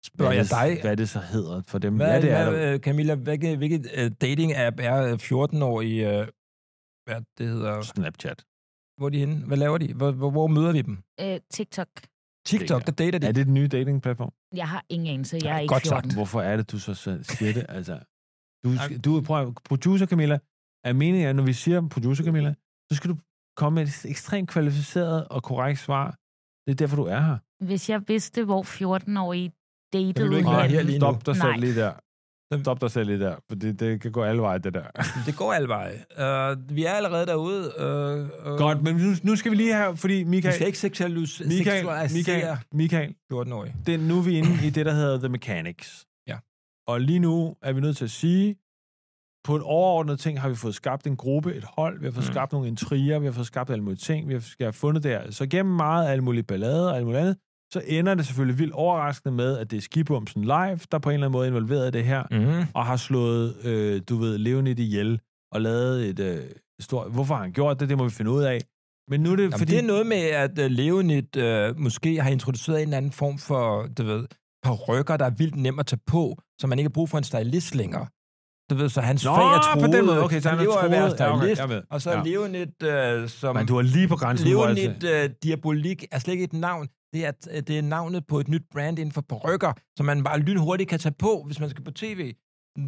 B: Spørger
A: Hvad
B: jeg
A: det-
B: dig.
A: Hvad det så hedder for dem.
B: Hvad,
A: ja, det er der.
B: hvad, øh, Camilla, hvilket, hvilket øh, dating-app er øh, 14-årige... Øh, hvad det hedder...
A: Snapchat.
B: Hvor er de henne? Hvad laver de? Hvor, hvor, hvor møder vi dem?
C: Øh, TikTok.
B: TikTok, der dater de.
A: Er det den nye datingplatform?
C: Jeg har ingen anelse. Jeg er
B: Nej,
C: ikke
B: godt
C: 14.
B: sagt.
A: Hvorfor er det, du så så siger det? Altså, du,
B: Jamen-
A: skal- du prøv, at- producer Camilla, er meningen, at når vi siger producer Camilla, så skal du komme med et ekstremt kvalificeret og korrekt svar. Det er derfor, du er her.
C: Hvis jeg vidste, hvor 14-årige
B: Så ville du
C: datede
B: ikke være her
C: hinanden,
B: lige nu.
A: Stop dig selv
C: Nej.
A: lige der. Stop dig selv lige der, for det, det kan gå alle veje, det der.
B: Det går alle veje. Uh, vi er allerede derude. Uh, uh,
A: Godt, men nu, nu skal vi lige have, fordi
B: Vi skal
A: Michael,
B: ikke seksualis-
A: Michael,
B: seksualisere
A: Michael, Michael,
B: 14-årige.
A: det, er- nu er vi inde i det, der hedder The Mechanics.
B: Ja.
A: Og lige nu er vi nødt til at sige, på en overordnet ting har vi fået skabt en gruppe, et hold, vi har fået
B: Mm.
A: mm. skabt nogle intriger, vi har fået skabt alle mulige ting, vi har vi har fundet der. Så gennem meget alle mulige ballader og alt muligt andet, så ender det selvfølgelig vildt overraskende med, at det er Skibumsen Live, der på en eller anden måde er involveret i det her,
B: Mm.
A: og har slået, øh, du ved, levende det ihjel, og lavet et øh, stort... Hvorfor har han gjort det? Det må vi finde ud af. Men nu er det,
B: Jamen,
A: fordi...
B: Fordi... Det er noget med, at uh, Leonid uh, måske har introduceret en eller anden form for, du ved, parrykker, der er vildt nem at tage på, så man ikke har brug for en stylist længere. Du ved, så hans
A: Nå,
B: fag er
A: på
B: troet.
A: den måde. Okay, så han,
B: lever af
A: er troet.
B: at være
A: Ja, okay,
B: stylist,
A: jeg ved.
B: og så ja. Leonid, uh, som...
A: Men du er lige på grænsen. altså. hvor jeg-
B: Leonid øh, Diabolik er slet ikke et navn. Det er, øh, det er navnet på et nyt brand inden for perukker, som man bare lynhurtigt kan tage på, hvis man skal på tv.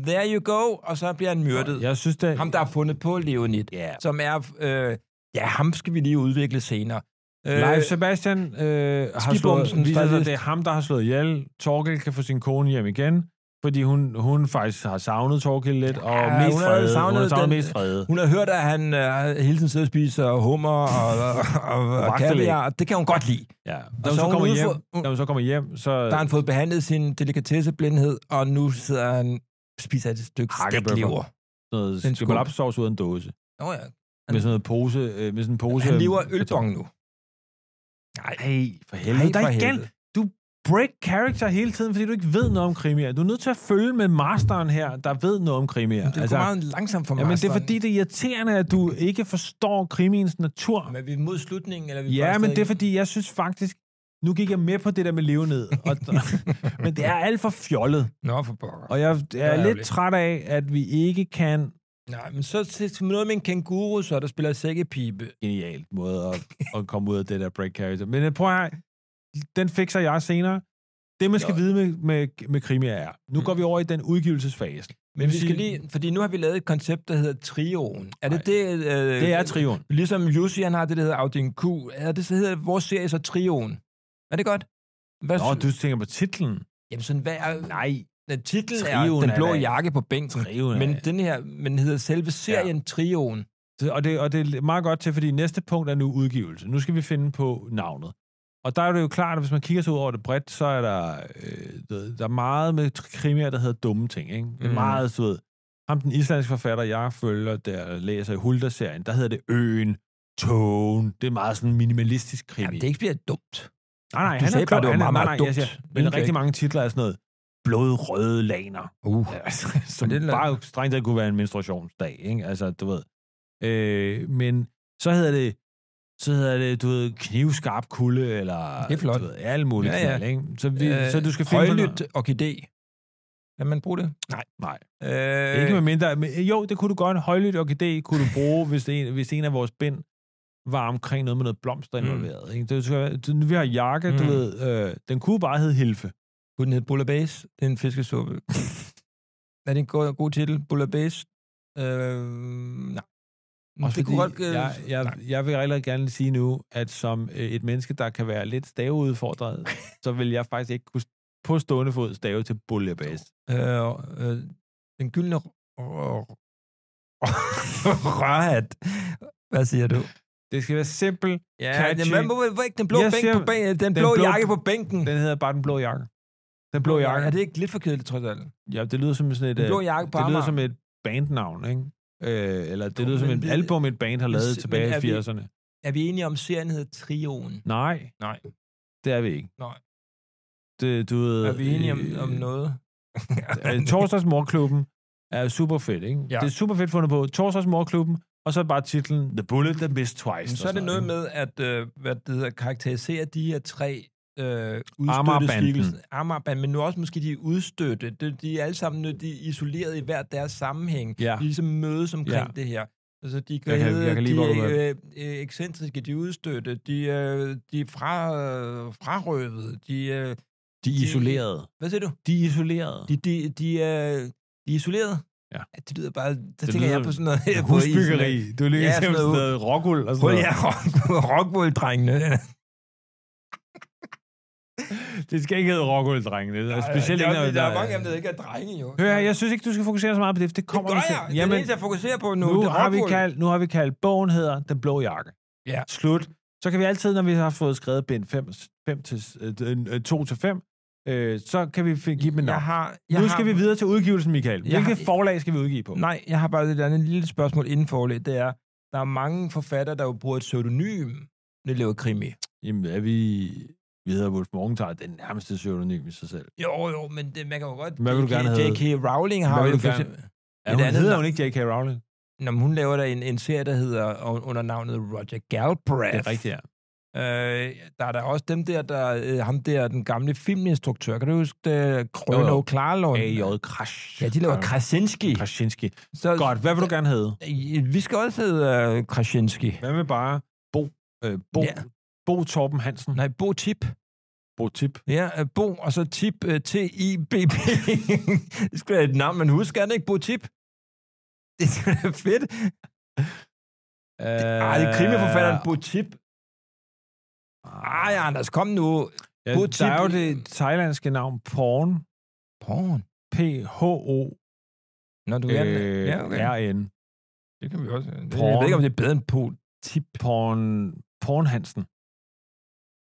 B: There you go, og så bliver han myrdet.
A: Jeg synes, det...
B: Ham, der har fundet på Leonid,
A: Ja.
B: som er... Øh, ja, ham skal vi lige udvikle senere. Øh,
A: Leif Sebastian øh, har slået,
B: Skibumsen,
A: viser sig,
B: stylist.
A: at det er ham, der har slået ihjel. Torkel kan få sin kone hjem igen, fordi hun, hun faktisk har savnet Torkel lidt, og
B: Ja,
A: mest
B: hun har
A: fred. Hun har
B: savnet
A: savnet
B: den-
A: mest fred.
B: hun har hørt, at han øh, hele tiden sidder og spiser hummer og, og, og, og
A: Vagtelæg.
B: kaviar, og det kan hun godt lide.
A: Ja. Da hun
B: så
A: så
B: hun
A: kommer
B: ude
A: hjem,
B: for- hun-
A: da hun så kommer hjem, så...
B: Der har han fået behandlet sin delikatesseblindhed, og nu sidder han spiser et stykke
A: Hakkebøffer.
B: stiklever.
A: noget
B: en skål.
A: skolapsovs ud af en dåse.
B: Nå ja.
A: Med sådan noget pose... Øh, med sådan en pose...
B: Han lever af ølbong nu.
A: Nej, for Altså, helvede.
B: Nej,
A: Der
B: for
A: igen,
B: helvede.
A: du break character hele tiden, fordi du ikke ved noget om krimier. Du er nødt til at følge med masteren her, der ved noget om krimier.
B: Det altså, går meget langsomt for mig.
A: Ja, men det er fordi, det er irriterende, at du ikke forstår krimiens natur.
B: Men er vi mod slutningen, eller er vi
A: Ja,
B: bare
A: men det er
B: stadig-
A: fordi, jeg synes faktisk... Nu gik jeg med på det der med levenhed, og, men det er alt for fjollet.
B: Nå, for pokker.
A: Og jeg er
B: ærgerligt.
A: lidt træt af, at vi ikke kan...
B: Nej, men så til til noget med en kanguru, så der spiller sækkepibe.
A: Genialt måde at, at komme ud af det der break character. Men øh, prøv her, den fikser jeg senere. Det, man skal
B: Jo.
A: vide med, med, med krimier er, nu
B: Mm.
A: går vi over i den udgivelsesfase.
B: Men
A: vil
B: vi skal
A: sige-
B: lige, fordi nu har vi lavet et koncept, der hedder trioen. Er det det? Øh,
A: Det er trioen.
B: Ligesom Jussi, han har det, der hedder Audien Q. Er det, så hedder vores serie så trioen. Er det godt? Hvad,
A: Nå, du tænker på titlen.
B: Jamen sådan, hvad er... Nej. Titlen er
A: Trioen
B: Den
A: er
B: blå
A: da-
B: jakke på bænken.
A: Trioen
B: Men
A: er-
B: den her, men hedder selve serien ja. Trioen.
A: Det- Og det, og det er meget godt til, fordi næste punkt er nu udgivelse. Nu skal vi finde på navnet. Og der er det jo klart, at hvis man kigger sig ud over det bredt, så er der, øh, du ved, der er meget med krimier, der hedder dumme ting. Ikke? Det er
B: Mm.
A: mm. meget, du ved, ham den islandske forfatter, jeg følger, der læser i Hulda-serien, der hedder det Øen, Togen. Det er meget sådan minimalistisk krimi.
B: Jamen, det ikke bliver dumt.
A: Nej, nej,
B: Du
A: han
B: sagde
A: er
B: bare,
A: klog.
B: det var
A: han er, nej,
B: meget,
A: nej,
B: meget dumt.
A: jeg siger,
B: Men
A: men
B: det er
A: rigtig mange titler er sådan noget, blodrøde laner,
B: Uh.
A: altså, som
B: det
A: det
B: er-
A: bare strengt taget kunne være en menstruationsdag, ikke? Altså, du ved. Øh, men så hedder det, så hedder det, du ved, knivskarp kulde, eller
B: Det er flot.
A: Du ved, alle mulige
B: Ja, ja.
A: ja, ja. ikke? Så, vi, øh, så du skal finde på
B: Højlydt
A: noget-
B: orkidé. Kan man bruge det?
A: Nej, nej.
B: Øh,
A: Ikke med mindre. Men, jo, det kunne du godt. Højlydt orkidé kunne du bruge, hvis, det en, hvis en af vores bind var omkring noget med noget blomster
B: Mm.
A: involveret. Ikke? Det, skal- du- vi har jakke, du
B: Mm.
A: ved. Øh, den kunne bare hedde Hilfe.
B: Kunne den hedde Bullabase? Det er en fiskesuppe. er det en god, god titel? Bullabase? Øh, nej.
A: Også det
B: det kunne
A: fordi,
B: godt... øh,
A: jeg, jeg,
B: nej.
A: jeg vil rigtig gerne lige sige nu, at som øh, et menneske, der kan være lidt staveudfordret, så vil jeg faktisk ikke kunne på stående fod stave til bullebase.
B: Øh, øh, den gyldne... r- r- Rørhat. Hvad siger du?
A: Det skal være simpelt.
B: Ja,
A: Catchy.
B: men hvor, hvor ikke den blå,
A: Jeg
B: bænk
A: siger-
B: på bænken, den, blå
A: blå-
B: jakke på bænken.
A: Den hedder bare den blå jakke. Den blå jakke.
B: Er det ikke lidt for kedeligt, trods alt?
A: Ja, det lyder som sådan et...
B: Den
A: øh,
B: blå jakke på
A: det lyder
B: Amager.
A: som et bandnavn, ikke? Øh, eller det
B: Jo,
A: lyder som
B: men
A: et
B: det-
A: album, et band har
B: men
A: lavet
B: s- men
A: tilbage
B: er
A: i
B: vi-
A: 80'erne.
B: Er vi enige om, serien hedder Trioen?
A: Nej.
B: Nej.
A: Det er vi ikke.
B: Nej.
A: Det, du ved,
B: Er vi enige om,
A: øh,
B: om noget?
A: Øh, Torsdags Morklubben er super fedt, ikke?
B: Ja.
A: Ja. Det er super fedt fundet på. Torsdags Morklubben, og så bare titlen The Bullet That Missed Twice.
B: Men så er
A: og
B: det
A: sådan
B: noget
A: ikke?
B: med at øh, hvad det hedder, karakterisere de her tre øh, udstøtte
A: Amagerbanden.
B: skikkelser. Amagerbanden, men nu også måske de udstøtte. De, de er alle sammen øh, de er isoleret i hver deres sammenhæng.
A: Ja.
B: De ligesom mødes omkring
A: Ja.
B: det her. Altså, de kan,
A: Jeg kan-
B: hedde,
A: jeg kan lige
B: de
A: godt
B: er øh, øh, ekscentriske, de er udstøtte, de, øh, de er fra, øh, frarøvet, de, øh,
A: De er isolerede.
B: hvad siger du?
A: De er isolerede.
B: De, de, de, er, de er isoleret?
A: Ja.
B: Det lyder bare, der
A: Det
B: tænker jeg
A: lyder-
B: på sådan noget. på
A: Husbyggeri.
B: isen.
A: Du er lige
B: Ja,
A: ja,
B: sådan
A: sådan
B: noget-
A: noget rockul og
B: Prøv
A: sådan
B: lige
A: noget.
B: at rockwool-drengene.
A: Det skal ikke hedde rockul, drengene. Det er specielt
B: der,
A: ikke,
B: der,
A: når
B: der, der er mange af dem, der ikke er drenge, jo.
A: Hør her, jeg synes ikke, du skal fokusere så meget på det, for det
B: det
A: kommer
B: gør
A: du til.
B: jeg. det er det eneste, jeg fokuserer på nu.
A: nu,
B: det er
A: har vi
B: Rockwool.
A: kaldt, nu har vi kaldt, bogen hedder Den Blå Jakke.
B: Ja.
A: Slut. Så kan vi altid, når vi har fået skrevet bind 5, 5 til, 2 til 5, øh, så kan vi fi- give dem en
B: Jeg
A: navn.
B: har, jeg
A: nu
B: har,
A: skal vi videre til udgivelsen, Michael.
B: Jeg
A: Hvilke
B: har-
A: forlag skal vi udgive på?
B: Nej, jeg har bare et andet lille spørgsmål inden for det. Det er, der er mange forfattere, der jo bruger et pseudonym, når de laver krimi.
A: Jamen, er vi... Vi hedder Wolf Morgenthaler, den nærmeste pseudonym i sig selv.
B: Jo, jo, men det, man kan jo godt...
A: Hvad vil du
B: J.K.
A: gerne hedde?
B: J.K. Rowling har
A: Hvad vil
B: jo
A: du
B: for
A: gerne-
B: eksempel...
A: Ja,
B: Et
A: hun
B: andet
A: hedder
B: navn.
A: hun ikke J.K. Rowling?
B: Nå, men hun laver der en, en serie, der hedder og- under navnet Roger Galbraith.
A: Det er rigtigt, ja.
B: Øh, der er der også dem der, der øh, ham der, den gamle filminstruktør. Kan du huske det? Krøno Klarlund.
A: A.J. Krasch.
B: Ja, de laver Krasinski.
A: Krasinski.
B: Så,
A: Godt, hvad vil du gerne hedde?
B: Øh, Vi skal også hedde øh, Krasinski.
A: Hvad med bare Bo, øh, Bo,
B: Ja.
A: Bo Torben Hansen?
B: Nej, Bo Tip.
A: Bo Tip.
B: Ja, øh, Bo, og så Tip. øh, T-I-B-B. det skal være et navn, man husker. Er det ikke Bo Tip? Det er da fedt.
A: Øh,
B: Ej, det er krimiforfatteren Bo Tip. Ej, Anders, kom nu.
A: Ja,
B: Bo
A: der
B: Tip-
A: er jo det thailandske navn Porn.
B: Porn.
A: P-H-O-R-N.
B: Nå, du gerne.
A: Øh,
B: ja, okay. Det kan vi også. Det, jeg ved ikke, om det er bedre end Bo Tip.
A: Porn, Porn Hansen.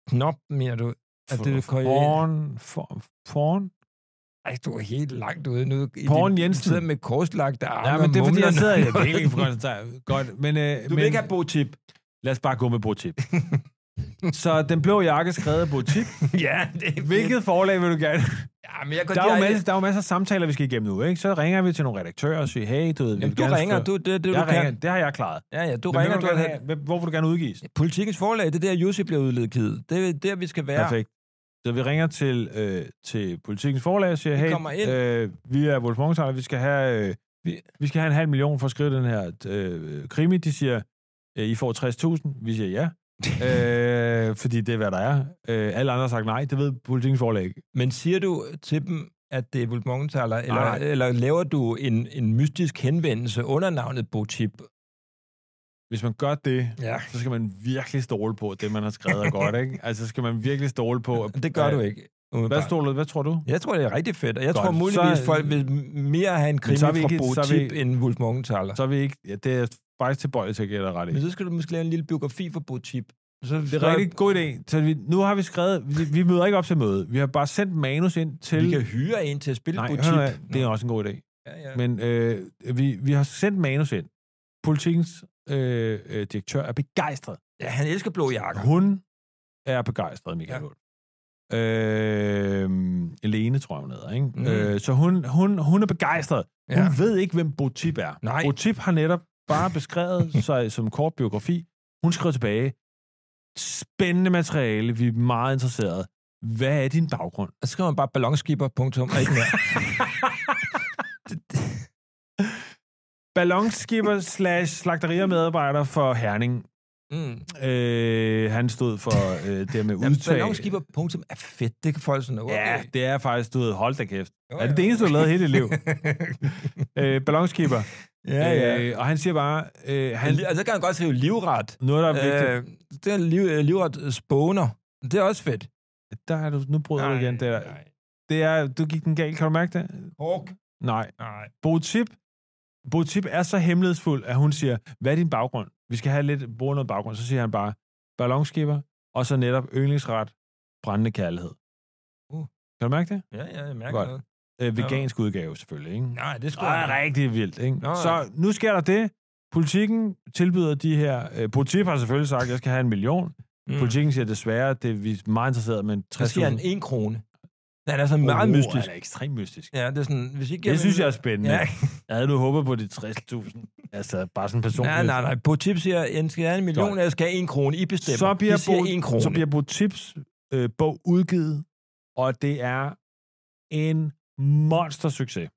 B: Knop, mener du? At det er koreansk.
A: Porn, for, porn.
B: Ej, du er helt langt ude nu. I
A: Porn
B: din- du
A: Jensen.
B: sidder med korslagte arme
A: Ja, men det er
B: og
A: fordi, jeg
B: mumler
A: sidder... Jeg
B: noget.
A: kan ikke for koncentrere. Godt, men... Øh,
B: Du
A: men,
B: vil ikke have botip.
A: Lad os bare gå med Botip. så den blå jakke skrevet af Botip.
B: ja, det er
A: Hvilket forlag vil du gerne?
B: Ja, men jeg går
A: Der er, jo masser, der er jo masser af samtaler, vi skal igennem nu, ikke? Så ringer vi til nogle redaktører og siger, hey, du ved... vi
B: Jamen,
A: vil
B: du
A: gerne
B: ringer,
A: skrive-
B: du, det, det, du
A: jeg ringer,
B: kan.
A: det har jeg klaret.
B: Ja, ja, du
A: Men
B: ringer,
A: hvem
B: du
A: vil gerne
B: kan.
A: have- hvem- Hvor vil du gerne udgives?
B: Politikens forlag, det er der, Jussi bliver udledet Det er der, vi skal være.
A: Perfekt. Så vi ringer til, øh, til politikens forlag og siger,
B: Vi
A: hey,
B: kommer ind."
A: Øh, vi er Wolf Morgenthaler, vi skal have... Øh,
B: Vi-
A: vi, vi skal have en halv million for at skrive den her øh, krimi. De siger, øh, I får 60.000. Vi siger ja. øh, fordi det er, hvad der er. Øh, alle andre har sagt nej. Det ved politikens forlag ikke.
B: Men siger du til dem, at det er vulpmongetaler, eller,
A: Nej, nej.
B: eller laver du en, en mystisk henvendelse under navnet Botip?
A: Hvis man gør det,
B: Ja.
A: så skal man virkelig stole på, at det, man har skrevet er godt, ikke? Altså, så skal man virkelig stole på... At,
B: Det gør du ikke.
A: Hvad,
B: umiddelbart.
A: stoler, hvad tror du?
B: Jeg tror, det er rigtig fedt, og jeg
A: Godt.
B: tror muligvis,
A: Så-
B: folk vil mere have en krimi
A: så er vi
B: fra
A: ikke- så er
B: Botip
A: vi-
B: end Vulpmongetaler.
A: Så er vi ikke... Ja, det er jeg faktisk tilbøjelig til at gætte dig ret i.
B: Men så skal du måske lave en lille biografi for Botip. Så
A: Det er en rigtig god idé. Så vi, nu har vi skrevet... Vi, vi møder ikke op til møde. Vi har bare sendt manus ind til...
B: Vi kan hyre en til at spille
A: Nej,
B: Botip.
A: hør, nu af, det er også en god idé.
B: ja, ja.
A: Men øh, vi, vi har sendt manus ind. Politikens øh, øh, direktør er begejstret.
B: ja, han elsker blå jakker.
A: Hun er begejstret, Michael
B: Ja.
A: Lund. Øh, Lene, tror jeg, hun hedder. Ikke?
B: Mm.
A: Mm. Øh, så hun, hun, hun er begejstret. Ja.
B: Ja.
A: Hun ved ikke, hvem Botip er.
B: Nej.
A: Botip har netop bare beskrevet sig som kort biografi. Hun skrev tilbage, spændende materiale, vi er meget interesserede. Hvad er din baggrund?
B: Og så skriver man bare ballonskipper, punktum, og ikke mere.
A: Ballonskipper slash slagteriermedarbejder for Herning.
B: Mm.
A: Øh, han stod for øh, det med
B: Jamen,
A: udtag.
B: ballonskipper, punktum, er fedt. Det kan folk sådan, okay.
A: Ja,
B: Jo,
A: det er faktisk, du ved, hold da kæft.
B: jo.
A: Er det det eneste, du har lavet hele dit liv? Øh, ballonskipper.
B: ja, ja.
A: Øh, og han siger bare, øh, han,
B: Han, og så kan han godt skrive livret.
A: noget, der er vigtigt.
B: Øh, det er liv, øh, livret øh, spåner. Det er også fedt.
A: Der er du, nu bryder du igen. Det, der. det er, du gik den galt, kan du mærke det?
B: Hawk.
A: Nej.
B: Nej.
A: Botip, Botip er så hemmelighedsfuld, at hun siger, hvad er din baggrund? Vi skal have lidt, bruge noget baggrund. Så siger han bare, ballonskipper, og så netop yndlingsret, brændende kærlighed.
B: Uh.
A: Kan du mærke det?
B: Ja, ja, jeg mærker
A: Godt.
B: noget.
A: Øh, vegansk udgave, selvfølgelig. Ikke?
B: Nej, det
A: Det er rigtig vildt, ikke?
B: Nå, ja.
A: så nu sker der det. Politikken tilbyder de her... Øh, Botip har selvfølgelig sagt, at jeg skal have en million. Mm. Politikken siger desværre, at det er vi er meget interesseret, men
B: Så siger han
A: 60.000...
B: en krone. Den er så meget
A: Åh,
B: mystisk.
A: Han er ekstremt mystisk.
B: Ja, det er sådan, hvis ikke...
A: Det synes jeg er spændende.
B: Ja,
A: Ja. Jeg havde nu håbet på de 60.000. Altså, bare sådan personligt.
B: nej, nej, nej. På tip siger, jeg skal have en million,
A: Godt.
B: eller jeg skal have en krone. I bestemmer.
A: Så bliver,
B: I siger
A: Bo,
B: en krone.
A: så bliver Botips øh, bog udgivet, og det er en monstersucces.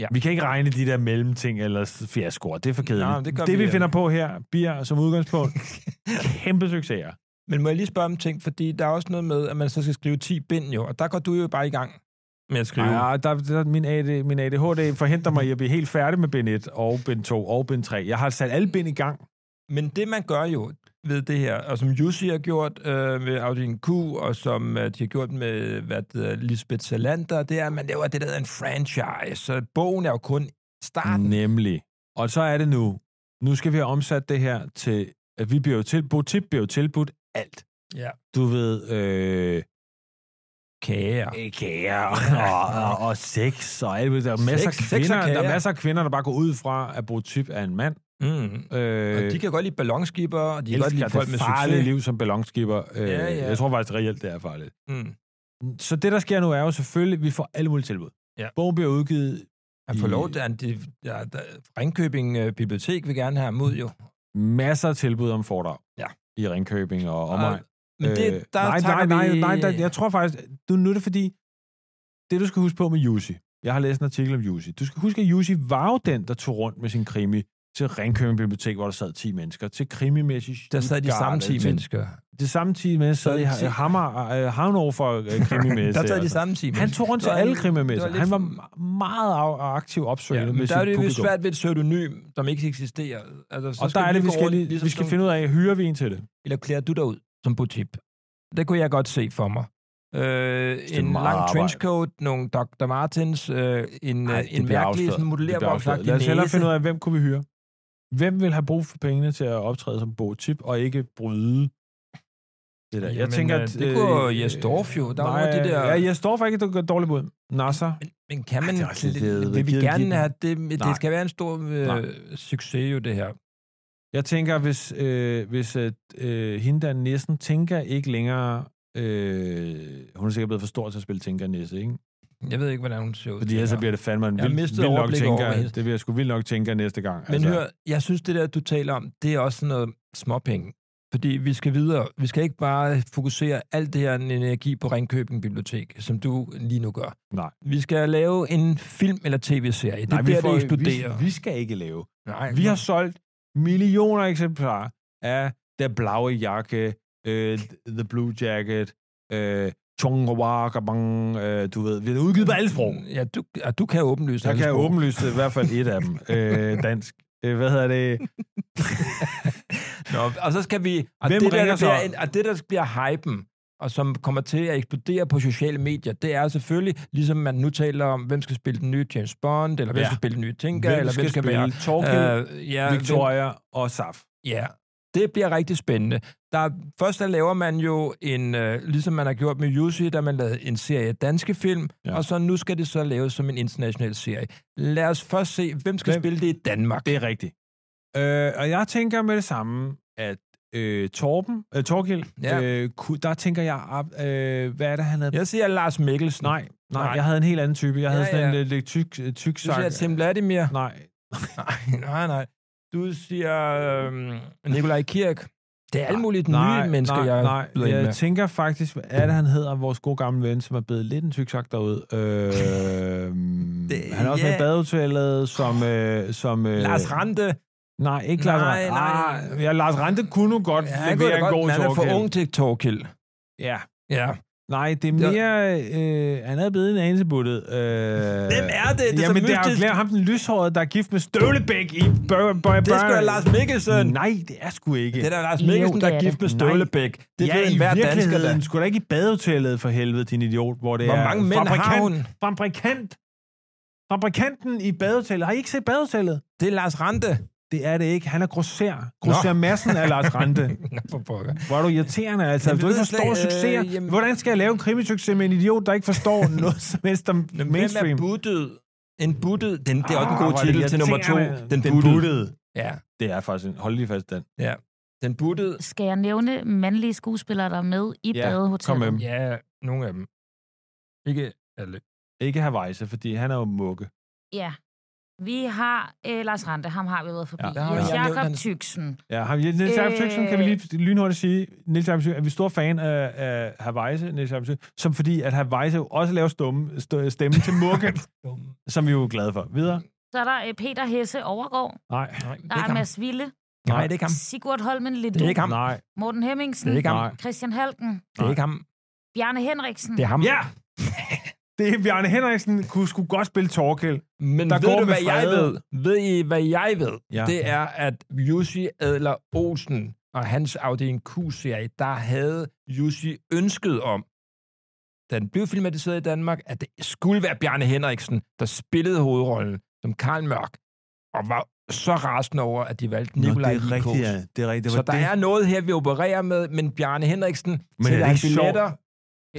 B: Ja.
A: Vi kan ikke regne de der mellemting eller s- fiaskoer. Det er for kedeligt.
B: Nej, det gør
A: det
B: vi øh.
A: vi,
B: ikke.
A: finder på her, bliver som udgangspunkt kæmpe succeser.
B: Men må jeg lige spørge om en ting, fordi der er også noget med, at man så skal skrive 10 bind jo, og der går du jo bare i gang med at skrive.
A: Ja, der, der, min, AD, min ADHD forhindrer mig i at blive helt færdig med bind 1 og bind 2 og bind 3. Jeg har sat alle bind i gang.
B: Men det man gør jo ved det her, og som Jussi har gjort øh, med Audien Q, og som øh, de har gjort med hvad det hedder, Lisbeth Salander, det er, at man laver det, der hedder en franchise. Så bogen er jo kun starten.
A: Mm. Nemlig. Og så er det nu. Nu skal vi have omsat det her til, at vi bliver jo tilbudt, tip bliver jo tilbudt alt.
B: Ja.
A: Du ved, øh,
B: Kære.
A: øh, kære og, og, og sex og alt muligt. Der er masser af
B: Sex, sex og
A: kvinder, der
B: kager.
A: er masser af kvinder, der bare går ud fra, at Botip er en mand.
B: Mm.
A: Øh,
B: Og de kan godt lide ballonskipper, og de kan godt
A: elsker
B: lide
A: det
B: folk med
A: farlige
B: succes.
A: liv som ballonskipper. Øh,
B: Ja, ja.
A: Jeg tror faktisk reelt, det er farligt.
B: Mm.
A: Så det, der sker nu, er jo selvfølgelig, at vi får alle mulige tilbud.
B: Ja.
A: Bogen bliver udgivet
B: Han får
A: I-
B: lov, der, er en- de, der, der, Ringkøbing øh, Bibliotek vil gerne have ham ud jo.
A: masser af tilbud om foredrag
B: Ja.
A: i Ringkøbing og
B: Og-
A: omegn.
B: Men det,
A: Øh,
B: der
A: nej, nej,
B: takker
A: nej,
B: vi...
A: nej, der, jeg tror faktisk, du, nu er det fordi, det du skal huske på med Jussi, jeg har læst en artikel om Jussi, du skal huske, at Jussi var jo den, der tog rundt med sin krimi til Ringkøbing Bibliotek, hvor der sad 10 mennesker, til krimimæssig
B: Der sad de samme 10 mennesker.
A: Det samme 10 mennesker, sad i
B: Sad de
A: Ha-
B: ti-
A: Hammer, øh, Hannover øh, krimimæssig.
B: Der sad de samme 10
A: Han tog rundt til
B: Det var
A: alle
B: lidt-
A: krimimæssig.
B: det var
A: Han
B: lidt
A: var
B: for-
A: me- meget af- aktiv opsøgende
B: Ja,
A: med
B: men
A: sit
B: der er det jo
A: publikum.
B: svært ved et pseudonym, som ikke eksisterer. Altså, så
A: Og der er det, vi skal, lige,
B: ligesom
A: vi skal finde ud af, hyrer vi en til det?
B: Eller klæder du dig ud som butip? Det kunne jeg godt se for mig. Øh,
A: er
B: en
A: meget
B: lang
A: arbejde.
B: trenchcoat, nogle Dr. Martens, øh, en, Ej,
A: det bliver
B: en mærkelig
A: afsløret. Det
B: sådan,
A: bliver afsløret.
B: modellervoksagtig
A: Lad os
B: næse.
A: hellere finde ud af, hvem kunne vi hyre? Hvem vil have brug for pengene til at optræde som botip og ikke bryde det der?
B: Jamen,
A: jeg tænker,
B: øh,
A: at...
B: det kunne Jes Dorph jo. Der var nogle af de der-
A: Ja, Jes Dorf er ikke et dårligt bud. Nasser.
B: Men, men kan
A: Ej,
B: man...
A: det er også lidt- det er
B: vil vi
A: rigidt.
B: gerne have... Det,
A: Nej.
B: det skal være en stor øh,
A: Nej.
B: succes jo, det her.
A: Jeg tænker, hvis, øh, hvis øh, øh, hende der næsten tænker ikke længere... Øh, hun er sikkert blevet for stor til at spille tænker næse, ikke?
B: Jeg ved ikke, hvordan hun ser ud.
A: Fordi ellers så
B: tænker.
A: bliver det fandme en
B: Jeg har
A: vild,
B: mistet
A: vild nok
B: overblik over,
A: tænker.
B: hvad
A: det bliver jeg sgu vild nok tænker næste gang.
B: Men altså. hør, jeg synes, det der, du taler om, det er også sådan noget småpenge. Fordi vi skal videre. Vi skal ikke bare fokusere alt det her energi på Ringkøbing Bibliotek, som du lige nu gør.
A: Nej.
B: Vi skal lave en film eller tv-serie. Det er
A: Nej,
B: Nej,
A: vi,
B: der,
A: får,
B: det eksploderer.
A: vi, vi skal ikke lave
B: Nej,
A: Vi har solgt millioner af eksemplarer af The Blaue Jakke, øh, The Blue Jacket, øh, Chongwagabang, øh, du ved, vi har udgivet på alle sprog.
B: Ja, du, ja, du kan åbenlyst
A: Jeg
B: alle
A: kan
B: sprog.
A: åbenlyst i hvert fald et af dem. Øh, dansk. Øh, hvad hedder det?
B: Nå, og så skal vi... Og
A: Hvem
B: det, der,
A: ringer
B: der
A: så?
B: bliver, en- og det, der bliver hypen, og som kommer til at eksplodere på sociale medier, det er selvfølgelig, ligesom man nu taler om, hvem skal spille den nye James Bond, eller hvem
A: Ja.
B: ja. skal spille den nye Tinker,
A: Hvem
B: eller
A: skal
B: hvem skal
A: spille
B: være...
A: Torkild,
B: Øh, ja, hvem-
A: Victoria og Saf?
B: Ja, det bliver rigtig spændende. Der, først der laver man jo en, øh, ligesom man har gjort med Jussi, da man lavede en serie danske film,
A: Ja.
B: ja. og så nu skal det så laves som en international serie. Lad os først se, hvem skal
A: Hvem-
B: hvem? spille det i Danmark.
A: Det er rigtigt. Øh, og jeg tænker med det samme, at øh, Torben, øh, Torgild, ja.
B: Ja.
A: øh, ku- der tænker jeg, op, øh, hvad er det, han havde?
B: Jeg siger Lars Mikkelsen.
A: Nej, nej, nej,
B: Nej.
A: jeg havde en helt anden type. Jeg havde
B: Ja,
A: sådan en
B: ja.
A: lidt, lidt tyk, øh, tyk
B: Du
A: sang.
B: siger Tim Vladimir.
A: Nej,
B: Nej, nej, nej. Du siger øh, Nikolaj Kirk. Det er alle mulige
A: nej,
B: nye mennesker,
A: nej,
B: jeg
A: nej,
B: byder ind
A: jeg
B: med.
A: tænker faktisk, hvad er det, han hedder, vores gode gamle ven, som er blevet lidt en tyksak derude. Øh, det,
B: Det-
A: han er også yeah. med i
B: ja.
A: badehotellet, som... Øh, som øh,
B: Lars Rante.
A: Nej, ikke
B: Nej,
A: Lars Rante.
B: nej.
A: Ah, ja, Lars Rante kunne nu godt ja,
B: kunne
A: levere
B: da
A: en god
B: men han er for
A: Torkild.
B: ung til Torkild.
A: Ja,
B: Ja.
A: Nej, det er
B: Det var-
A: mere... Øh, han er blevet en anelse buttet. Øh, Hvem er
B: det? Det er så
A: jamen, det er jo
B: mystisk.
A: glæder ham den lyshårede, der er gift med Støvlebæk i Bør, Bør, Bør.
B: Det er sgu da Lars Mikkelsen.
A: Nej, det er sgu ikke.
B: Det er da Lars
C: Jo,
B: Mikkelsen,
C: det
B: der
C: er
B: er gift
C: det.
B: med Støvlebæk. Det
A: ja,
B: ved
A: i
B: enhver dansker, der.
A: virkeligheden. Skulle da ikke i badehotellet for helvede, din idiot, hvor det
B: Hvor
A: er...
B: mange mænd har hun?
A: Fabrikant. Fabrikanten i badehotellet. Har I ikke set badehotellet?
B: Det er Lars Rante.
A: Det er det ikke. Han er grosser. Grosser massen af Lars Rante.
B: Nå, for pokker.
A: Hvor er du irriterende, altså.
B: Jamen,
A: Jamen, du
B: det
A: ikke
B: ved
A: forstår
B: jeg slet- øh,
A: succeser.
B: jamen-
A: Hvordan skal jeg lave en krimisucces med en idiot, der ikke forstår noget som helst om mainstream?
B: Hvem er buttet? En buttet. Den, det er også en god
A: Ah, hvor er det
B: titel til nummer to.
A: irriterende.
B: Den buttede.
A: buttede.
B: Ja.
A: Det er faktisk en... Hold lige fast den.
B: Den buttede.
C: Skal jeg nævne mandlige skuespillere, der er med i
A: Ja,
C: ja, badehotellet?
A: kom med dem.
B: Ja, nogle af dem. Ikke alle.
A: Ikke Havajse, fordi han er jo mukke.
C: Ja. Vi har øh, Lars Rante, ham har vi været forbi.
A: Ja, der
C: Ja,
A: har
C: Jens
A: vi-
B: han-
C: Jakob Tygsen.
A: Ja, har vi Niels Jakob Tyksen, kan vi
B: Øh.
A: lige lynhurtigt sige, Niels Jakob Tyksen, er vi store fan af, af Havajse, Niels Jakob Tyksen, som fordi, at Havajse jo også laver stumme, st- stemme til mukke, som vi er jo glade for. Videre?
C: Så er der øh, Peter Hesse Overgaard.
A: Nej.
B: Nej, det
C: Der
B: er
C: er
B: ikke ham.
C: Mads Ville.
B: Nej, det er ikke ham.
C: Sigurd Holmen Lidu.
B: Det er ikke ham.
A: Nej.
C: Morten Hemmingsen.
B: Det er ikke ham.
A: Nej.
C: Christian Halken.
B: Det er ikke ham.
C: Bjarne Henriksen.
B: Det er ham.
A: Ja! Det er Bjarne Henriksen, kunne sgu godt spille Torkel.
B: Men
A: Der
B: der
A: går
B: ved du,
A: med
B: hvad jeg
A: fred.
B: ved? Ved I, hvad jeg ved?
A: Ja.
B: Det er, at Jussi Adler Olsen og hans afdeling Q-serie, der havde Jussi ønsket om, da den blev filmatiseret i Danmark, at det skulle være Bjarne Henriksen, der spillede hovedrollen som Karl Mørk, og var så rasende over, at de valgte Nikolaj
A: det er
B: Likos.
A: rigtigt, ja. Det er rigtigt. Det
B: Så
A: var
B: der
A: det.
B: er noget her, vi opererer med, men Bjarne Henriksen
A: Men er
B: sælger
A: det ikke
B: billetter.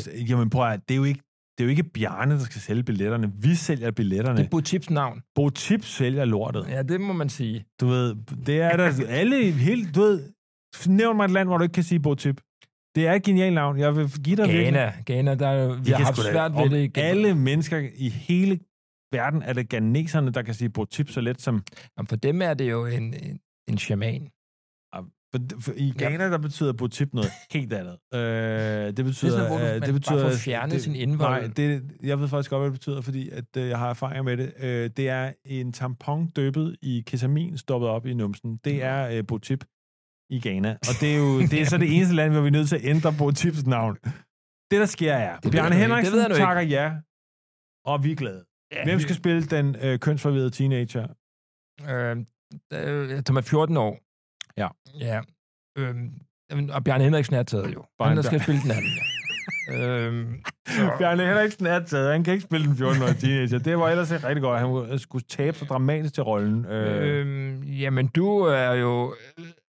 A: sjovt? Jamen prøv at, høre, det er jo ikke det er jo ikke Bjarne, der skal sælge billetterne. Vi sælger
B: Det er
A: billetterne.
B: Bo Tips navn.
A: Bo Tips sælger lortet.
B: Ja, det må man sige.
A: Du ved, det er der alle i hele, du ved, nævn mig et land, hvor du ikke kan sige Botip. Det er et genialt navn. Jeg vil give dig virkelig-
B: Ghana. Ghana, der, er- vi
A: I
B: har
A: kan
B: haft
A: sgu da-
B: svært ved
A: om
B: det. igen.
A: Alle mennesker i hele verden er det ghaneserne, der kan sige Botip så let som...
B: Jamen, for dem er det jo en, en, en shaman.
A: For, for I Ghana, der betyder Botip noget helt andet. Øh, det betyder...
B: sådan, hvor du-
A: øh,
B: man bare får fjernet sin indvold.
A: Nej, det, jeg ved faktisk godt, hvad det betyder, fordi at, øh, jeg har erfaringer med det. Øh, det er en tampon døbet i ketamin, stoppet op i numsen.
B: Mm.
A: Det er øh, Botip i Ghana. Og det er jo det er så det eneste land, hvor vi er nødt til at ændre Botips navn. Det, der sker, er...
B: ved
A: Bjarne
B: jeg nu ikke. Det
A: Henriksen
B: ved jeg nu ikke.
A: takker ja, og vi er glade.
B: Ja,
A: Hvem skal spille den øh, kønsforvirrede teenager?
B: Øh, øh, som er 14 år.
A: Ja.
B: ja. Øh, jamen, og Bjarne Henriksen er taget jo.
A: Bare
B: Bare han,
A: en
B: der skal
A: Bjar-
B: spille den anden. øh,
A: Bjarne Henriksen er taget. Han kan ikke spille den 14-årige teenager. Det var ellers ikke rigtig godt. Han skulle tabe sig dramatisk til rollen. Øh,
B: øh, jamen, du er jo...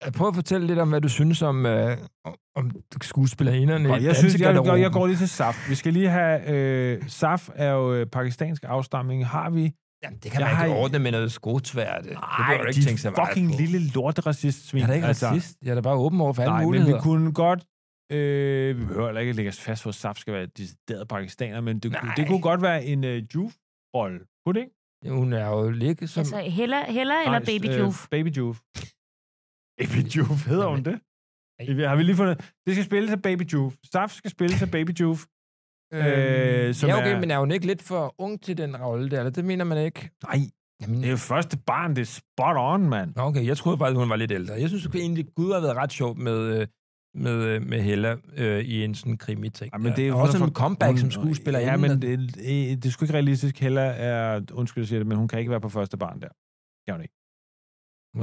B: øh, Prøv at fortælle lidt om, hvad du synes om, øh, om- om skuespillerinderne
A: Godt,
B: i
A: jeg synes, jeg, jeg,
B: dansegarderoben.
A: jeg går lige til SAF. Vi skal lige have... Øh, SAF er jo øh, pakistansk afstamning. Har vi...
B: Jamen, det kan
A: Jeg
B: man ikke
A: har-
B: ordne med noget skrutværte. Det kan du
A: Ej,
B: jo
A: de
B: ikke tænke så meget
A: fucking
B: på.
A: lille lorteracist-svin.
B: Jeg er da ikke altså, racist. Jeg er da bare åben over for alle
A: Nej,
B: muligheder.
A: men vi kunne godt... Øh, vi behøver heller ikke lægge os fast, hvor SAF skal være decideret pakistaner, men det, kunne-
B: Nej.
A: det kunne godt være en øh, Juve-rolle. Kunne det ikke?
B: Hun er jo ligge som...
C: Altså Hella, Hella eller
A: Nej,
C: Baby
A: øh,
C: Juve?
A: Baby Juve. Baby Juve, hedder hun det?
B: Nej.
A: Har vi lige fundet... Det skal spille til Baby Juve. Staff skal spille til Baby Juve.
B: Mm.
A: øh, som
B: Øhm, ja, okay,
A: er-
B: er... men er hun ikke lidt for ung til den rolle der? Eller det mener man ikke?
A: Nej,
B: Jamen,
A: det er jo første barn, det er spot on, mand.
B: Nå, okay, jeg troede faktisk, hun var lidt ældre. Jeg synes egentlig, Gud har været ret sjov med øh, med, øh, med Hella øh, i en sådan krimi-ting.
A: Ja, men det er
B: der.
A: hun
B: også
A: er
B: en
A: for-
B: comeback som
A: hun-
B: skuespiller.
A: Ja, men det, det, det er sgu ikke realistisk. Hella er, undskyld, jeg siger det, men hun kan ikke være på første barn der. Kan hun ikke.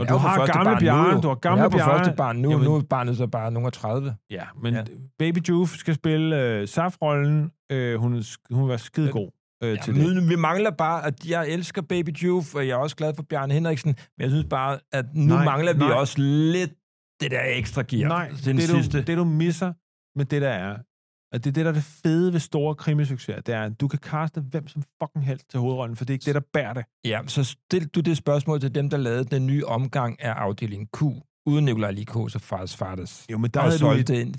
A: og du har gamle Bjarne, du har gamle
B: Jeg er på
A: Bjarne.
B: første barn nu,
A: Jamen-
B: nu er barnet så bare nogen af 30.
A: Ja, men
B: Ja.
A: ja. Baby Juve skal spille øh, safrollen. Øh, hun, er sk- hun var skide god øh,
B: Ja,
A: til det.
B: men vi mangler bare, at jeg elsker Baby Juve, og jeg er også glad for Bjarne Henriksen, men jeg synes bare, at nu nej,
A: Nej,
B: mangler vi
A: nej.
B: også lidt det der ekstra gear.
A: Nej,
B: til den
A: det
B: sidste.
A: du, det du misser med det, der er, og det er det, der er det fede ved store krimisucceser, det er, at du kan kaste hvem som fucking helst til hovedrollen, for det er ikke det, der bærer det.
B: Ja, så stil du det spørgsmål til dem, der lavede den nye omgang af afdeling Q, uden Nikolaj Likos og Fars Fartes.
A: Jo, men der,
B: Der og
A: havde du, et,
B: solgte en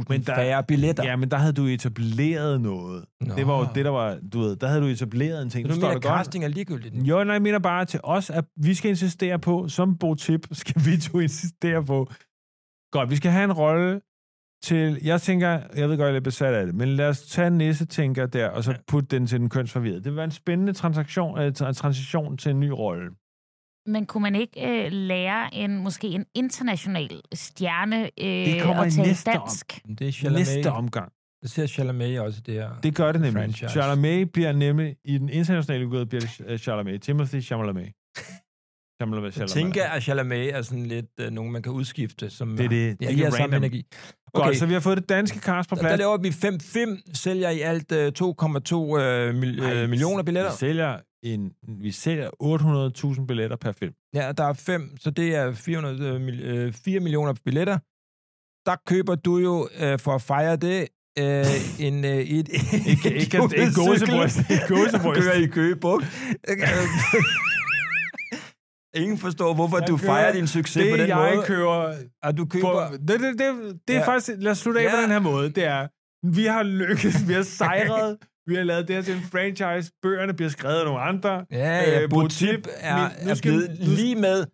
B: 600.000
A: Men der-
B: færre billetter.
A: ja, men der havde du etableret noget.
B: Nå.
A: Det var jo det, der var, du ved, der havde du etableret en ting.
B: Så du
A: Forstår
B: mener, at
A: du godt?
B: casting er ligegyldigt nu?
A: Jo, nej, jeg mener bare til os, at vi skal insistere på, som Bo Tip, skal vi to insistere på. Godt, vi skal have en rolle til, jeg tænker, jeg ved godt, jeg er lidt besat af det, men lad os tage næste tænker der, og så putte den til den kønsforvirrede. Det vil være en spændende transaktion, øh, tra- transition til en ny rolle.
C: Men kunne man ikke øh, lære en måske en international stjerne øh,
A: Det kommer
C: at
A: i
C: tale
A: næste om.
C: dansk? Om.
B: Men Det er Chalamet.
A: Næste omgang.
B: Det ser Chalamet også i det her.
A: Det gør det nemlig.
B: Franchise.
A: Franchise. Chalamet bliver nemlig, i den internationale udgave bliver det øh, Chalamet. Timothy Chalamet. Chalamet,
B: Jeg
A: Chalamet.
B: tænker, at Chalamet er sådan lidt øh, nogen, man kan udskifte, som
A: Det er det.
B: Ja,
A: Det
B: I
A: er
B: har samme
A: random.
B: energi.
A: Godt, så vi har fået det danske cast på
B: der, der
A: plads.
B: laver vi 5 film, sælger i alt øh, 2,2 øh, mil,
A: Nej,
B: øh, millioner billetter.
A: Vi sælger, en, vi sælger 800.000 billetter per film.
B: Ja, der er 5, så det er 400, øh, mil- øh, 4 millioner billetter. Der køber du jo, øh, for at fejre det, øh, en, øh, et, ikke,
A: Ikke, ikke, ikke gåsebryst. Ikke gåsebryst.
B: kører i Køge Bugt. Ingen forstår, hvorfor
A: Jeg
B: du
A: kører-
B: fejrer din succes
A: Det,
B: på den
A: jeg
B: måde.
A: køber...
B: at du køber...
A: På, det, det, det, det er
B: Ja.
A: ja. faktisk... Lad os slutte af
B: Ja.
A: ja. på den her måde. Det er, vi har lykkes, vi har sejret, vi har lavet det her til en franchise, bøgerne bliver skrevet af nogle andre.
B: Ja, ja,
A: Øh,
B: øh, Botip
A: Bo Tip,
B: er,
A: men nu
B: er
A: skal-
B: blevet
A: nu skal-
B: lige med.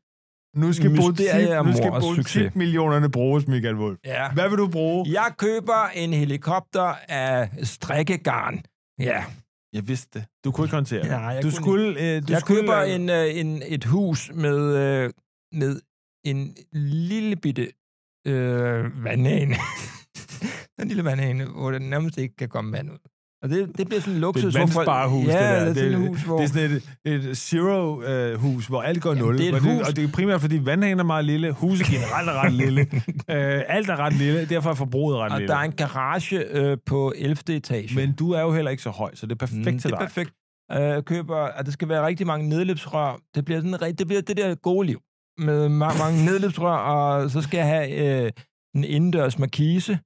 A: Nu skal
B: Mysterie er
A: Botip- nu skal
B: mors succes.
A: Botip-millionerne bruges, Michael Wolf.
B: Ja.
A: Hvad vil du bruge?
B: Jeg køber en helikopter af strikkegarn. Ja.
A: Jeg vidste det. Du kunne ikke håndtere det.
B: Nej, jeg kunne
A: du
B: ikke.
A: skulle, øh, du
B: Jeg
A: skulle,
B: køber
A: øh,
B: en, øh, en, et hus med, øh, med en lille bitte øh, vandhane. en lille vandhane, hvor der nærmest ikke kan komme vand ud. Og det, det bliver sådan
A: Det
B: en
A: er
B: luksus.
A: et vandsparehus,
B: ja,
A: det der.
B: Ja, det er sådan et hus, hvor...
A: det er sådan et, et zero-hus, hvor alt går
B: Jamen,
A: nul.
B: det er et
A: og, det,
B: hus.
A: og det er primært, fordi vandhanen er meget lille, huset generelt er ret lille, øh, alt er ret lille, derfor er forbruget ret
B: og
A: lille.
B: der er en garage øh, på 11. etage.
A: Men du er jo heller ikke så høj, så det er perfekt
B: Mm,
A: til
B: det er
A: dig.
B: perfekt. Øh, køber, at der skal være rigtig mange nedløbsrør. Det bliver, sådan, rig- det bliver det der gode liv med ma- mange nedløbsrør, og så skal jeg have øh, en indendørs markise.